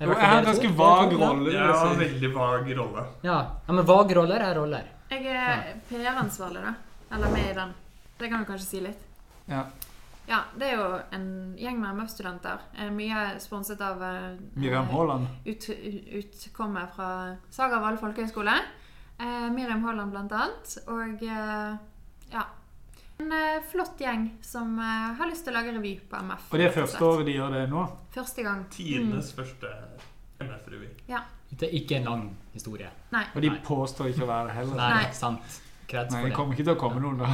E: Er
B: Jo,
E: dere
B: jeg har en
E: dere to?
B: ganske
E: Dere
B: vag
E: to, ja.
B: rolle. vil
C: Det
B: jeg
C: er en
B: si.
C: veldig vag rolle.
E: Ja. ja, men vag roller er roller.
D: Jeg er PR-ansvarlig, da. Eller med i den. Det kan du kanskje si litt.
B: Ja.
D: Ja, det er jo en gjeng med MF-studenter. Eh, Mye sponset av eh,
B: Miriam Haaland.
D: ut, utkommet fra Sagervall folkehøgskole. Eh, Miriam Haaland blant annet. Og eh, ja. En eh, flott gjeng som eh, har lyst til å lage revy på MF.
B: Og det er
D: rett
B: første
D: slett.
B: året de gjør det nå.
D: Første gang.
B: Mm.
C: Tidenes første MF-revy.
E: Det er ikke en lang historie.
D: Nei.
B: Og de
E: Nei.
B: påstår ikke å være det heller.
E: Nei,
D: Nei.
E: sant. Kreds
B: Nei,
E: for
B: det
E: det.
B: kommer ikke til å komme noen, da.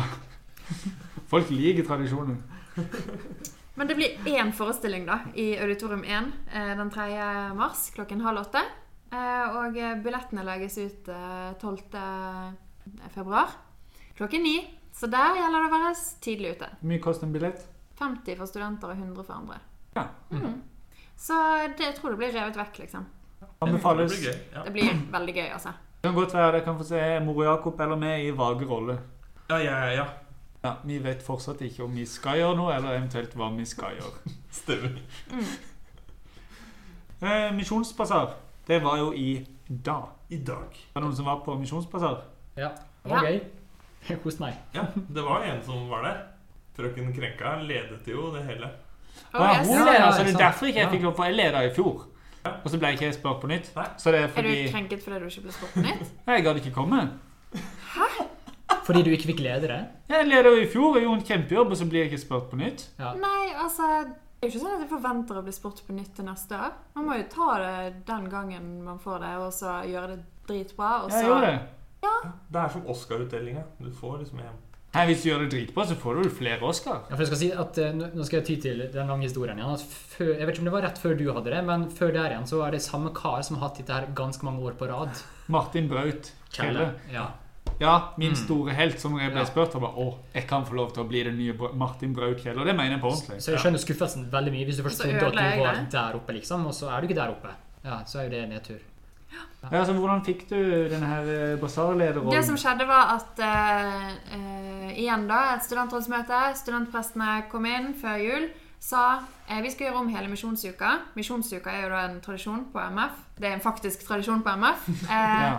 B: Folk liker tradisjonen.
D: Men det blir én forestilling da, i Auditorium 1 eh, den 3. mars klokken halv åtte. Eh, og eh, billettene legges ut eh, 12. februar klokken ni. Så der gjelder det å være s- tidlig ute.
B: Hvor mye koster en billett?
D: 50 for studenter og 100 for andre.
B: Ja.
D: Mhm. Så det jeg tror det blir revet vekk, liksom.
B: Anbefales.
C: Det blir gøy. Ja.
D: Det blir veldig gøy, altså.
B: Det kan godt være dere kan få se mor Jakob eller meg i vage roller.
C: Ja, ja, ja, ja.
B: Ja, vi vet fortsatt ikke om vi skal gjøre noe, eller eventuelt hva vi skal gjøre.
C: Stemmer.
B: Eh, misjonsbasar, det var jo i dag.
C: I dag.
B: Var det noen som var på misjonsbasar?
E: Ja, det var
D: Ja.
E: gøy. Jeg koste meg.
C: Ja, det var en som var der. Frøken Krenka ledet jo det hele.
D: Og
B: Ah,
D: jeg
B: hun
E: ja,
D: så-
B: leder,
E: ja,
B: så det er
E: sant.
B: derfor ikke jeg
E: Ja.
B: fikk lov på. Jeg leda i fjor, og så ble ikke jeg spurt på nytt.
C: Nei.
B: Så det er
D: Er
B: fordi
D: du krenket fordi du ikke ble spurt på nytt?
B: Nei, jeg gadd ikke komme.
E: Fordi du ikke fikk ledere?
B: Jeg leda jo i fjor og gjorde en kjempejobb, og så blir jeg ikke spurt på nytt.
E: Ja.
D: Nei, altså Det er jo ikke sånn at jeg forventer å bli spurt på nytt til neste år. Man må jo ta det den gangen man får det, og så gjøre det dritbra, og
B: Jeg gjorde
D: så
B: det.
C: Det er som Oscar-utdelinga. Du får liksom en
B: Nei, Hvis du gjør det dritbra, så får du vel flere Oscar.
E: Ja, for jeg skal si at eh, Nå nå skal jeg ty til den lange historien igjen. At før, jeg vet ikke om det var rett før du hadde det, men før der igjen så er det samme kar som har hatt dette her ganske mange år på rad.
B: Martin Braut Kjelle.
E: Ja.
B: Ja, min
E: Mm.
B: store helt, som jeg ble
E: Ja.
B: spurt om. Å, jeg kan få lov til å bli den nye Bra- Martin Braut Kjelle. Og det mener jeg på ordentlig.
E: Så jeg skjønner skuffelsen veldig mye hvis du
D: Så
E: først trodde at
D: ødela jeg
E: du var
D: det.
E: der oppe, liksom, og så er du ikke der oppe. Ja, Så er jo det nedtur.
B: Ja, altså, hvordan fikk du den her eh, basarlederrollen?
D: Det som skjedde, var at eh, eh, igjen da, et studentrådsmøte. Studentprestene kom inn før jul. Sa eh, vi skal gjøre om hele misjonsuka. Misjonsuka er jo da en tradisjon på MF. Det er en faktisk tradisjon på MF. Eh,
B: ja.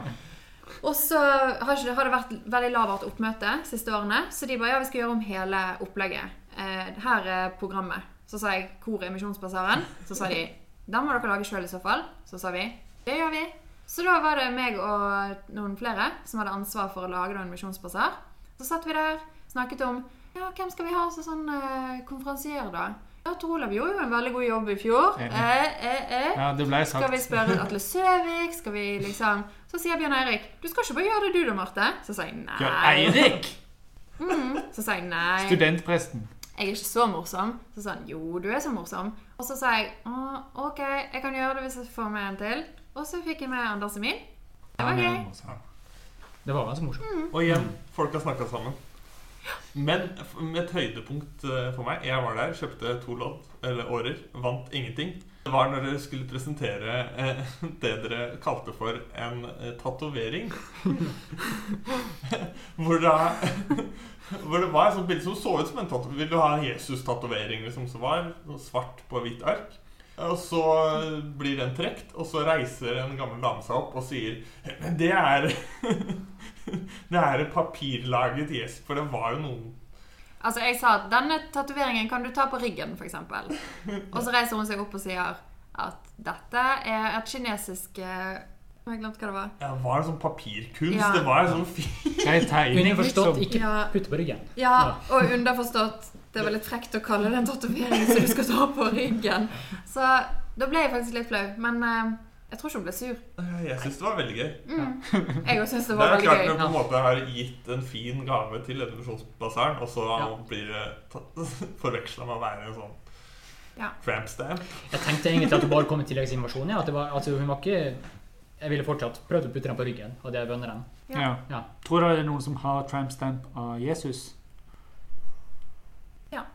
D: Og så har, ikke, har det vært veldig lavert oppmøte siste årene, så de bare ja, vi skal gjøre om hele opplegget. Eh, her er programmet. Så sa jeg hvor er Misjonsbasaren? Så sa de den må dere lage sjøl i så fall. Så sa vi det gjør vi. Så da var det meg og noen flere som hadde ansvar for å lage da en misjonsbasar. Så satt vi der, snakket om ja, hvem skal vi ha som sånn eh, konferansier, da? Ja, Tor Olav gjorde jo en veldig god jobb i fjor.
B: Enig.
D: Eh, eh, eh.
B: ja, det ble
D: Skal
B: sagt.
D: vi spørre Atle Søvik? Skal vi liksom Så sier Bjørn Eirik Du skal ikke bare gjøre det du da, Marte? Så sier jeg
B: Bjørn
D: nei.
B: Eirik!
D: Så sier jeg nei.
B: Studentpresten.
D: Jeg er ikke så morsom. Så sa han jo, du er så morsom. Og så sa jeg «Å, ok, jeg kan gjøre det hvis jeg får med en til. Og så fikk jeg med Anders Emil. Det var gøy.
E: Det var ganske morsomt.
C: Og igjen, folk har snakka sammen. Men f- med et høydepunkt eh, for meg Jeg var der, kjøpte to lodd, eller årer, vant ingenting. dette var når dere skulle presentere eh, det dere kalte for en eh, tatovering. hvor, da- hvor det var et sånt bilde som så ut som en tatovering. Vil du ha en Jesus-tatovering liksom, som var noe svart på hvitt ark? Og så blir den trukket, og så reiser en gammel dame seg opp og sier Men det er Det er et papirlaget Jesus. For det var jo noen
D: Altså, jeg sa at denne tatoveringen kan du ta på ryggen, f.eks. Og så reiser hun seg opp og sier at dette er et kinesisk eh, Jeg har glemt hva det var.
C: ja, Det var en sånn papirkunst.
D: Ja.
C: Det var en sånn fin
E: Jeg tegner
B: Underforstått,
E: liksom.
D: Ja,
E: Putte på ryggen.
D: ja og underforstått det var litt frekt å kalle det en tatovering som du skal ta på ryggen. Så da ble jeg faktisk litt flau. Men eh, jeg tror ikke hun ble sur. Mm.
C: Jeg syns det var veldig gøy.
D: Jeg òg syns det
C: Det
D: var
C: er klart når du
D: veldig gøy.
C: på en måte har gitt en fin gave til Edvisjonsbasaren, og så
E: Ja.
C: blir det forveksla med å være en sånn
D: Ja.
C: tramp stamp.
E: Jeg tenkte egentlig at det bare kom en tilleggsinvasjon. Ja, at det var, altså, hun var ikke Jeg ville fortsatt prøvd å putte den på ryggen, og det vunnet den.
D: Ja.
B: Ja.
E: Ja.
B: Tror dere det er noen som har tramp stamp av Jesus? Ah,
D: Ja.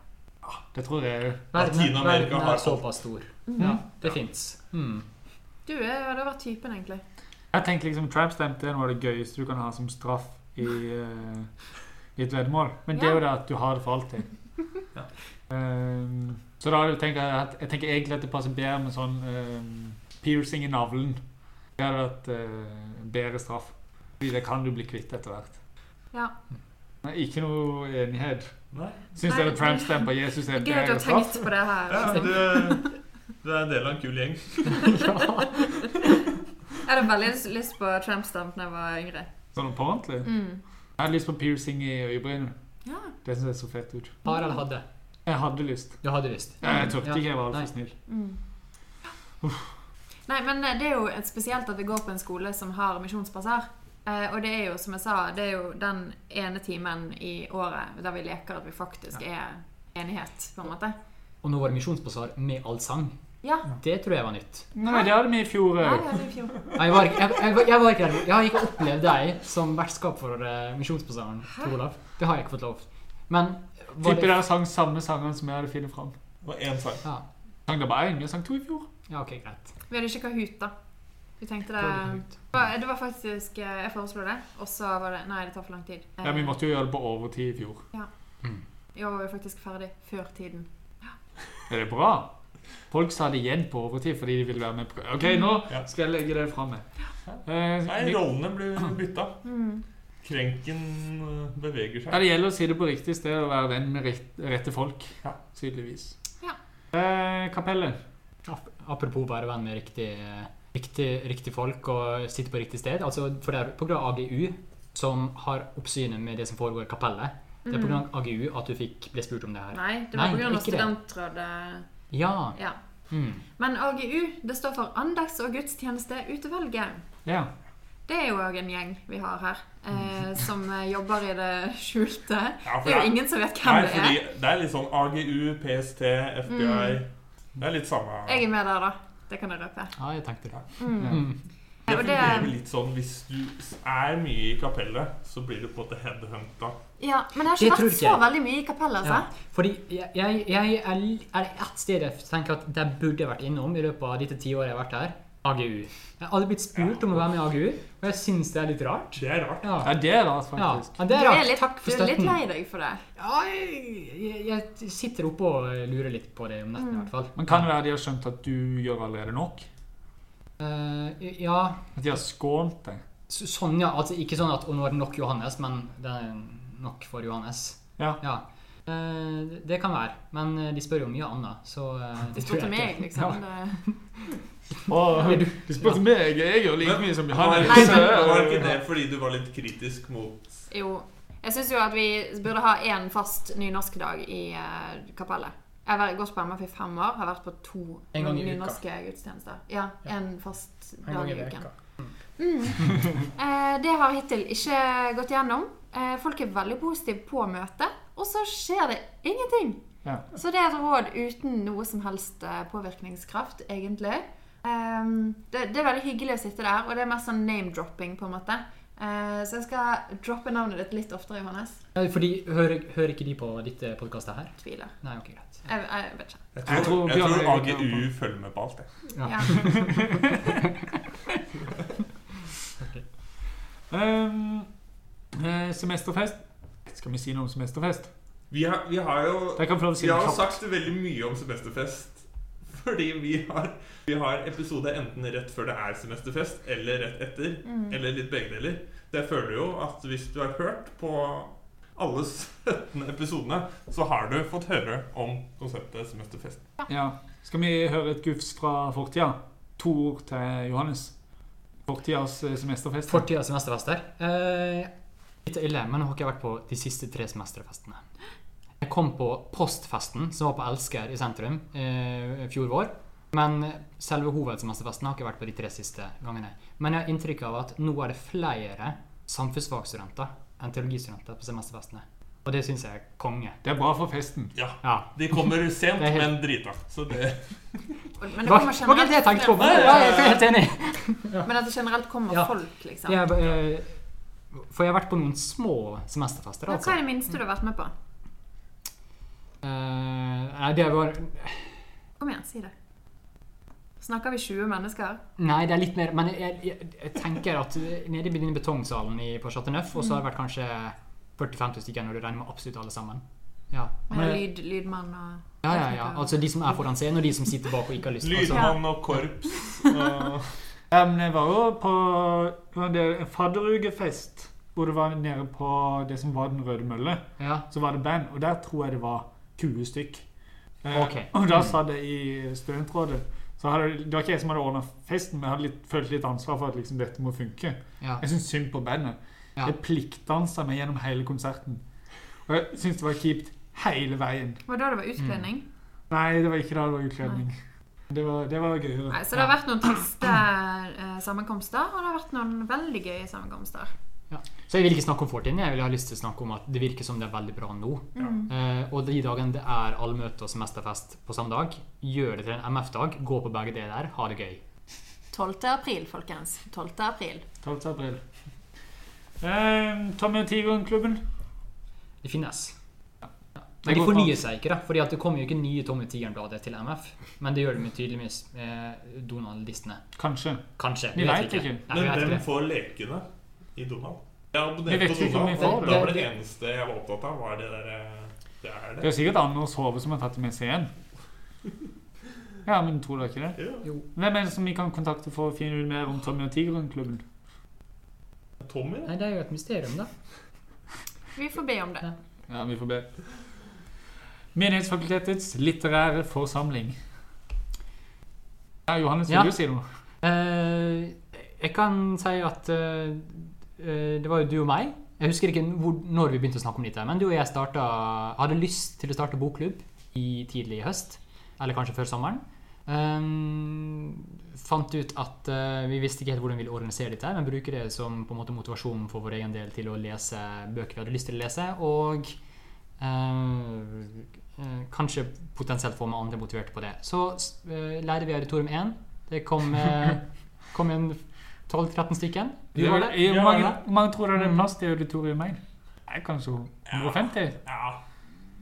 B: Det tror jeg òg.
C: Latin-Amerika
E: verden
C: har
E: er
C: alt.
E: såpass stor. Ja, det fins. Mm.
D: Du er, det var typen, egentlig.
B: Jeg tenker liksom tramp stamp det er noe av det gøyeste du kan ha som straff i, eh, i et veddemål. Men det er jo det at du har det for alltid.
C: Ja.
B: Ehm, så da tenker jeg at jeg tenker egentlig at det passer bedre med sånn ehm, piercing i navlen. Det hadde vært eh, en bedre straff. Fordi det kan du bli kvitt etter hvert.
D: Ja.
B: Men ikke noe enighet.
C: Nei.
B: Syns
D: Nei.
B: dere tramp stamp av Jesus er en
D: Gøy at
B: bedre
D: du har
B: straff?
D: tenkt på det her.
C: Ja, men du, du er en del av en kul gjeng.
D: Jeg hadde veldig lyst på tramp stamp da jeg var yngre.
B: Sånn på ordentlig?
D: Mm.
B: Jeg hadde lyst på piercing i øyebrynet.
D: Ja.
B: Det syns jeg så fett ut.
E: Har eller hadde?
B: Jeg hadde lyst.
E: Du hadde visst.
B: Jeg, jeg turte
E: Ja.
B: ikke, jeg var
E: Nei.
B: altfor snill.
D: Mm. Nei, men eh, det er jo et spesielt at vi går på en skole som har misjonsbasar. Eh, og det er jo, som jeg sa, det er jo den ene timen i året der vi leker at vi faktisk er enighet, på en måte.
E: Og nå var det misjonsbasar med allsang.
D: Ja.
E: Det tror jeg var nytt.
B: Nei, det hadde vi i fjor eh,
D: Ja,
B: òg.
D: ja, det er i fjor.
E: Jeg var, ikke- jeg, jeg, var- jeg var ikke der. Jeg har ikke opplevd deg som vertskap for eh, Misjonsbasaren til Olav. Det har jeg ikke fått lov. Men var
B: Tipper
E: det,
B: dere sang samme sangene som jeg hadde funnet fram.
C: Og én sang.
E: ja.
B: Sang det bare én? Vi sang to i fjor.
E: ja, ok, greit.
D: Vi hadde ikke Kahoot, da. Vi tenkte
E: Da
D: det eh,
E: er det nytt.
D: Det var- Det var faktisk eh, Jeg foreslo det, og så var det Nei, det tar for lang tid. Eh,
B: Ja, Vi måtte jo gjøre det på overtid i fjor.
D: I år var vi faktisk ferdig før tiden.
B: Er det bra? Folk sa det igjen på overtid fordi de ville være med på OK, nå
C: Ja.
B: skal jeg legge det fra meg. Eh,
C: Nei,
B: vi-
C: rollene blir bytta.
D: Mm.
C: Krenken eh, beveger
B: ja,
C: seg.
B: det gjelder å si det på riktig sted og være venn med rikt- rette folk.
C: Ja.
B: Tydeligvis.
D: Ja.
B: Eh, kapellet.
E: Ap- Apropos være venn med riktig, eh, riktig, riktig folk og sitte på riktig sted. Altså, for det er pga. AGU som har oppsynet med det som foregår i kapellet. Det er pga.
D: Mm.
E: AGU at du fikk, ble spurt om det her.
D: Nei, det
E: Nei,
D: var på grunn av
E: ikke det.
D: studentrådet.
E: Ja.
D: Ja.
E: Mm.
D: Men AGU det står for Andags- og gudstjenesteutvalget.
B: Ja.
D: Det er jo òg en gjeng vi har her, eh, som eh, jobber i det skjulte.
C: Ja, for
D: Det er jo
C: det-
D: ingen som vet
C: Nei,
D: hvem det
C: fordi
D: er.
C: det er litt sånn AGU, PST, FBI Det er litt samme
D: Mm. Jeg er med der, da. Det kan jeg røpe. Hmm.
E: ja, jeg tenkte det.
B: ja.
E: Mm.
C: Det
D: Og det-
C: fungerer litt sånn hvis du er mye i kapellet, så blir du på en måte headhunta.
D: Ja, Men det har
E: Det
D: ikke
E: tror
D: vært så
E: ikke jeg.
D: veldig mye i kapellet,
E: Ja,
D: altså.
E: fordi jeg, jeg, jeg er l- er det ett sted jeg tenker at jeg burde vært innom i løpet av dette tiåret jeg har vært her. AGU. Jeg har aldri blitt spurt om å være med i AGU, og jeg syns det er litt rart.
C: Det er rart.
E: Ja.
B: ja, det er det altså,
E: Ja.
B: faktisk.
E: ja, det er
D: Du er
E: rart.
D: litt,
E: Takk
D: du
E: for
D: er litt
E: støtten.
D: lei deg for det.
E: Ja, jeg, jeg sitter oppe og lurer litt på det om
D: Mm.
E: netten i hvert fall.
B: Men kan det være de har skjønt at du gjør allerede nok?
E: Eh, ja,
B: At de har skånt deg?
E: så- sånn ja. Altså ikke sånn at «Å, nå er det nok Johannes, men det er nok for Johannes.
B: Ja.
E: Eh, det kan være. Men eh, de spør jo om mye annet, så eh,
D: De
E: det tror
D: spurte
E: jeg
D: meg,
E: ikke.
D: liksom. Det-
B: Og
E: du-
B: du spurte meg, jeg gjør like
C: Men
B: mye som
C: Var
B: Johannes.
D: Nei,
C: ikke-
D: men-
C: var ikke det fordi du var litt kritisk mot
D: Jo. Jeg syns jo at vi burde ha én fast nynorskdag i eh, kapellet. Jeg har vært- gått på MF i fem år, har vært på to
E: En gang i uka.
D: nynorske gudstjenester. Ja, en fast
E: En gang
D: dag
E: i
D: i uken.
E: veka.
D: Eh, Det har hittil ikke gått gjennom. Eh, Folk er veldig positive på møtet, og så skjer det ingenting.
B: Ja.
D: Så det er et råd uten noe som helst eh, påvirkningskraft, egentlig. Ehm, det, det er veldig hyggelig å sitte der, og det er mest sånn name-dropping, på en måte. Eh, så jeg skal droppe navnet ditt litt oftere, Johannes.
E: Eh, Fordi, hører, hører ikke de på ditt eh, podcast her?
D: Tviler.
E: Nei, ok, greit.
D: Jeg, jeg vet ikke.
C: Jeg
E: Jeg tror
C: tror, jeg tror
E: Bjørn-
C: AGU følger med på alt, jeg.
E: Ja.
D: Ja.
B: Ehm, eh, semesterfest. Skal vi si noe om semesterfest?
C: Vi har, vi har jo
B: Jeg kan prøve å si
C: Vi har
B: noe
C: jo
B: kjapt.
C: sagt veldig mye om semesterfest. Fordi vi har, vi har episode enten rett før det er semesterfest, eller rett etter.
D: Mm.
C: Eller litt begge deler. Det føler du jo at hvis du har hørt på alle 17 episodene, så har du fått høre om konseptet semesterfest.
B: Ja. Skal vi høre et gufs fra fortida? To ord til Johannes. Fortidas eh, semesterfest.
E: Fortida semesterfester. Eh, litt ille, men nå har ikke jeg vært på de siste tre semesterfestene. Jeg kom på postfesten, som var på Elsker i sentrum eh, fjor vår. Men selve hovedsemesterfesten har ikke vært på de tre siste gangene. Men jeg har inntrykk av at nå er det flere samfunnsfagstudenter enn teologistudenter på semesterfestene. Og det syns jeg er konge.
B: Det er bra for festen.
C: Ja.
E: Ja.
C: De kommer sent,
E: Det er helt-
C: men drita. Så det
D: Men
E: Det
D: det
E: var,
D: kommer
E: det var ikke det jeg tenkte på,
D: frem-
E: men ja, jeg er helt enig.
D: Men at det generelt kommer
E: Ja.
D: folk, liksom.
E: Jeg, eh, for jeg har vært på noen små semesterfester,
D: Men
E: altså.
D: hva er det minste du har vært med på?
E: Eh, nei, det var
D: Kom igjen, si det. Snakker vi 20 mennesker?
E: Nei, det er litt mer Men jeg, jeg, jeg tenker at nede i denne betongsalen i, på Chateau Neuf, og så har det vært kanskje 40-50 stykker når du regner med absolutt alle sammen. Ja.
D: Med
E: Men,
D: lyd, lydmann og
E: ja, ja, ja. Altså de som er foran scenen, og de som sitter bak og ikke har lyst. Altså,
C: Lydmann og korps og
B: Ja, men jeg var jo på det var en fadderugefest hvor det var nede på det som var Den røde mølle.
E: ja.
B: Så var det band, og der tror jeg det var 20 stykk. Eh,
E: Ok.
B: Og da sa det i studentrådet så hadde, Det var ikke jeg som hadde ordna festen, men jeg hadde litt, følt litt ansvar for at liksom, dette må funke.
E: Ja.
B: Jeg syns synd på bandet.
E: Ja.
B: Jeg pliktdansa meg gjennom hele konserten. Og jeg syns det var kjipt hele veien.
D: Var det da det var utkledning?
E: Mm.
B: Nei, det var ikke da det var utkledning. Det var, det var gøyere.
D: Nei, så det har vært noen triste eh, sammenkomster, og det har vært noen veldig gøye sammenkomster.
E: Så jeg vil ikke snakke om fortiden. Jeg vil ha lyst til å snakke om at det virker som det er veldig bra nå.
D: Mm.
E: Eh, og de dagene det er allmøte og semesterfest på samme dag, gjør det til en MF-dag. Gå på begge deler. Ha det gøy.
D: 12. april, folkens. 12. april.
B: 12. april. Eh, Tommy og Tigeren-klubben.
E: Det finnes.
B: Det
E: Men de
B: går
E: fornyer seg ikke, da. Fordi at det kommer jo ikke nye Tommy Tigeren-blader til MF. Men det gjør de jo tydeligvis med Donald-listene.
B: Kanskje.
E: Kanskje.
B: Vi vet ikke.
E: Nei, vi
C: Men
E: vet
C: hvem
E: ikke.
C: får lekene i Donald? Jeg
B: Vi vet
C: abonnerte på
B: ikke om vi
C: Donald,
B: får
C: og
E: det.
C: da var det
E: Det-
C: eneste jeg var opptatt av, var det der eh, Det er
B: Det
C: det.
B: er sikkert Anders Hove som har tatt det med seg igjen. Ja, men tror dere ikke det?
C: Ja.
B: Hvem er det som vi kan kontakte for å finne ut mer om Tommy og Tigeren-klubben?
C: Tommy?
E: Nei, det er jo et mysterium, da.
D: Vi får be om det.
B: Ja, vi får be. Menighetsfakultetets litterære forsamling. Ja, Johannes, vil
E: Ja.
B: du si noe?
E: Eh, jeg kan si at eh, eh, det var jo du og meg. Jeg husker ikke hvor, når vi begynte å snakke om dette, men du og jeg starta, hadde lyst til å starte bokklubb i tidlig i høst. Eller kanskje før sommeren. Eh, fant ut at eh, vi visste ikke helt hvordan vi ville organisere dette, men bruker det som på en måte motivasjon for vår egen del til å lese bøker vi hadde lyst til å lese, og eh, eh, kanskje potensielt få med andre motiverte på det. Så uh, leide vi Auditorium 1. Det kom, eh, kom en 12-13 stykken. Du var der.
B: Ja,
E: Du
B: Hvor
E: var
B: mange,
E: der.
B: hvor mange tror dere det
E: Mm.
B: er plass til i auditoriet meg? Nei, kanskje 150?
C: Ja.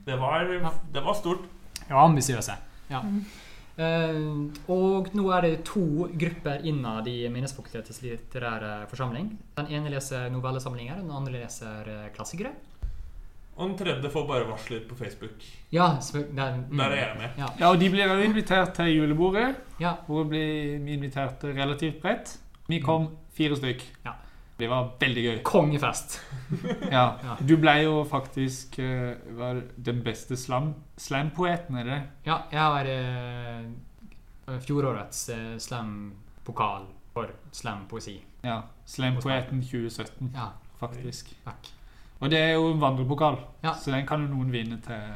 C: Det var, det var stort.
E: Ja, ambisiøse. Ja. Eh, og nå er det to grupper innad i Minnesfakultetets litterære forsamling. Den ene leser novellesamlinger, den andre leser eh, klassikere.
C: Og den tredje får bare varsler på Facebook.
E: Ja, selvfølgelig. Der, mm.
C: Der er jeg med.
E: Ja.
B: Ja, og de blir jo invitert til julebordet,
E: Ja.
B: hvor vi blir invitert relativt bredt. Vi kom fire stykk.
E: Mm. Ja.
B: Det var veldig gøy.
E: Mm. Kongefest.
B: Ja.
E: Ja.
B: Du ble jo faktisk eh, var den beste slam- slam-poeten, er det det?
E: Ja, jeg var eh, fjorårets eh, slam-pokal for slam-poesi.
B: Ja. Slam-poeten 2017,
E: Ja,
B: faktisk.
E: takk.
B: Og det er jo en vandrepokal,
E: Ja.
B: så den kan jo noen vinne til,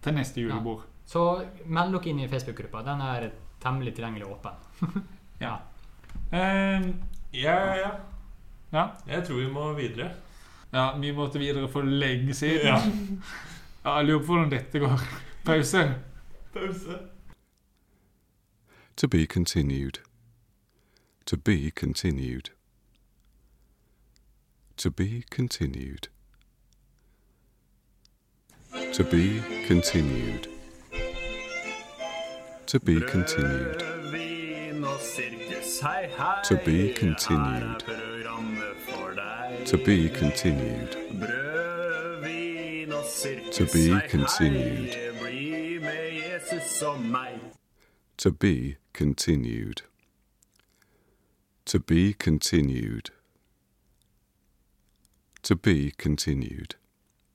B: til neste julebord.
E: Så meld dere inn i Facebook-gruppa. Den er temmelig tilgjengelig og åpen.
B: Ja. Eh,
C: Ja, ja, ja.
B: ja.
C: Jeg tror vi må videre.
B: ja, vi måtte videre for lenge siden.
C: Ja.
B: Ja, jeg lurer på hvordan dette går. Pause.
C: Pause.
F: To be continued. To be continued. To be continued. To be continued. To be continued.
A: Rødvin og sirkus, hei, hei.
F: To be continued.
A: Her er programmet for deg.
F: To be continued.
A: Brødvin og sirkus,
F: To be continued.
A: hei, hei. Bli med Jesus og meg.
F: To be continued. To be continued. To be continued.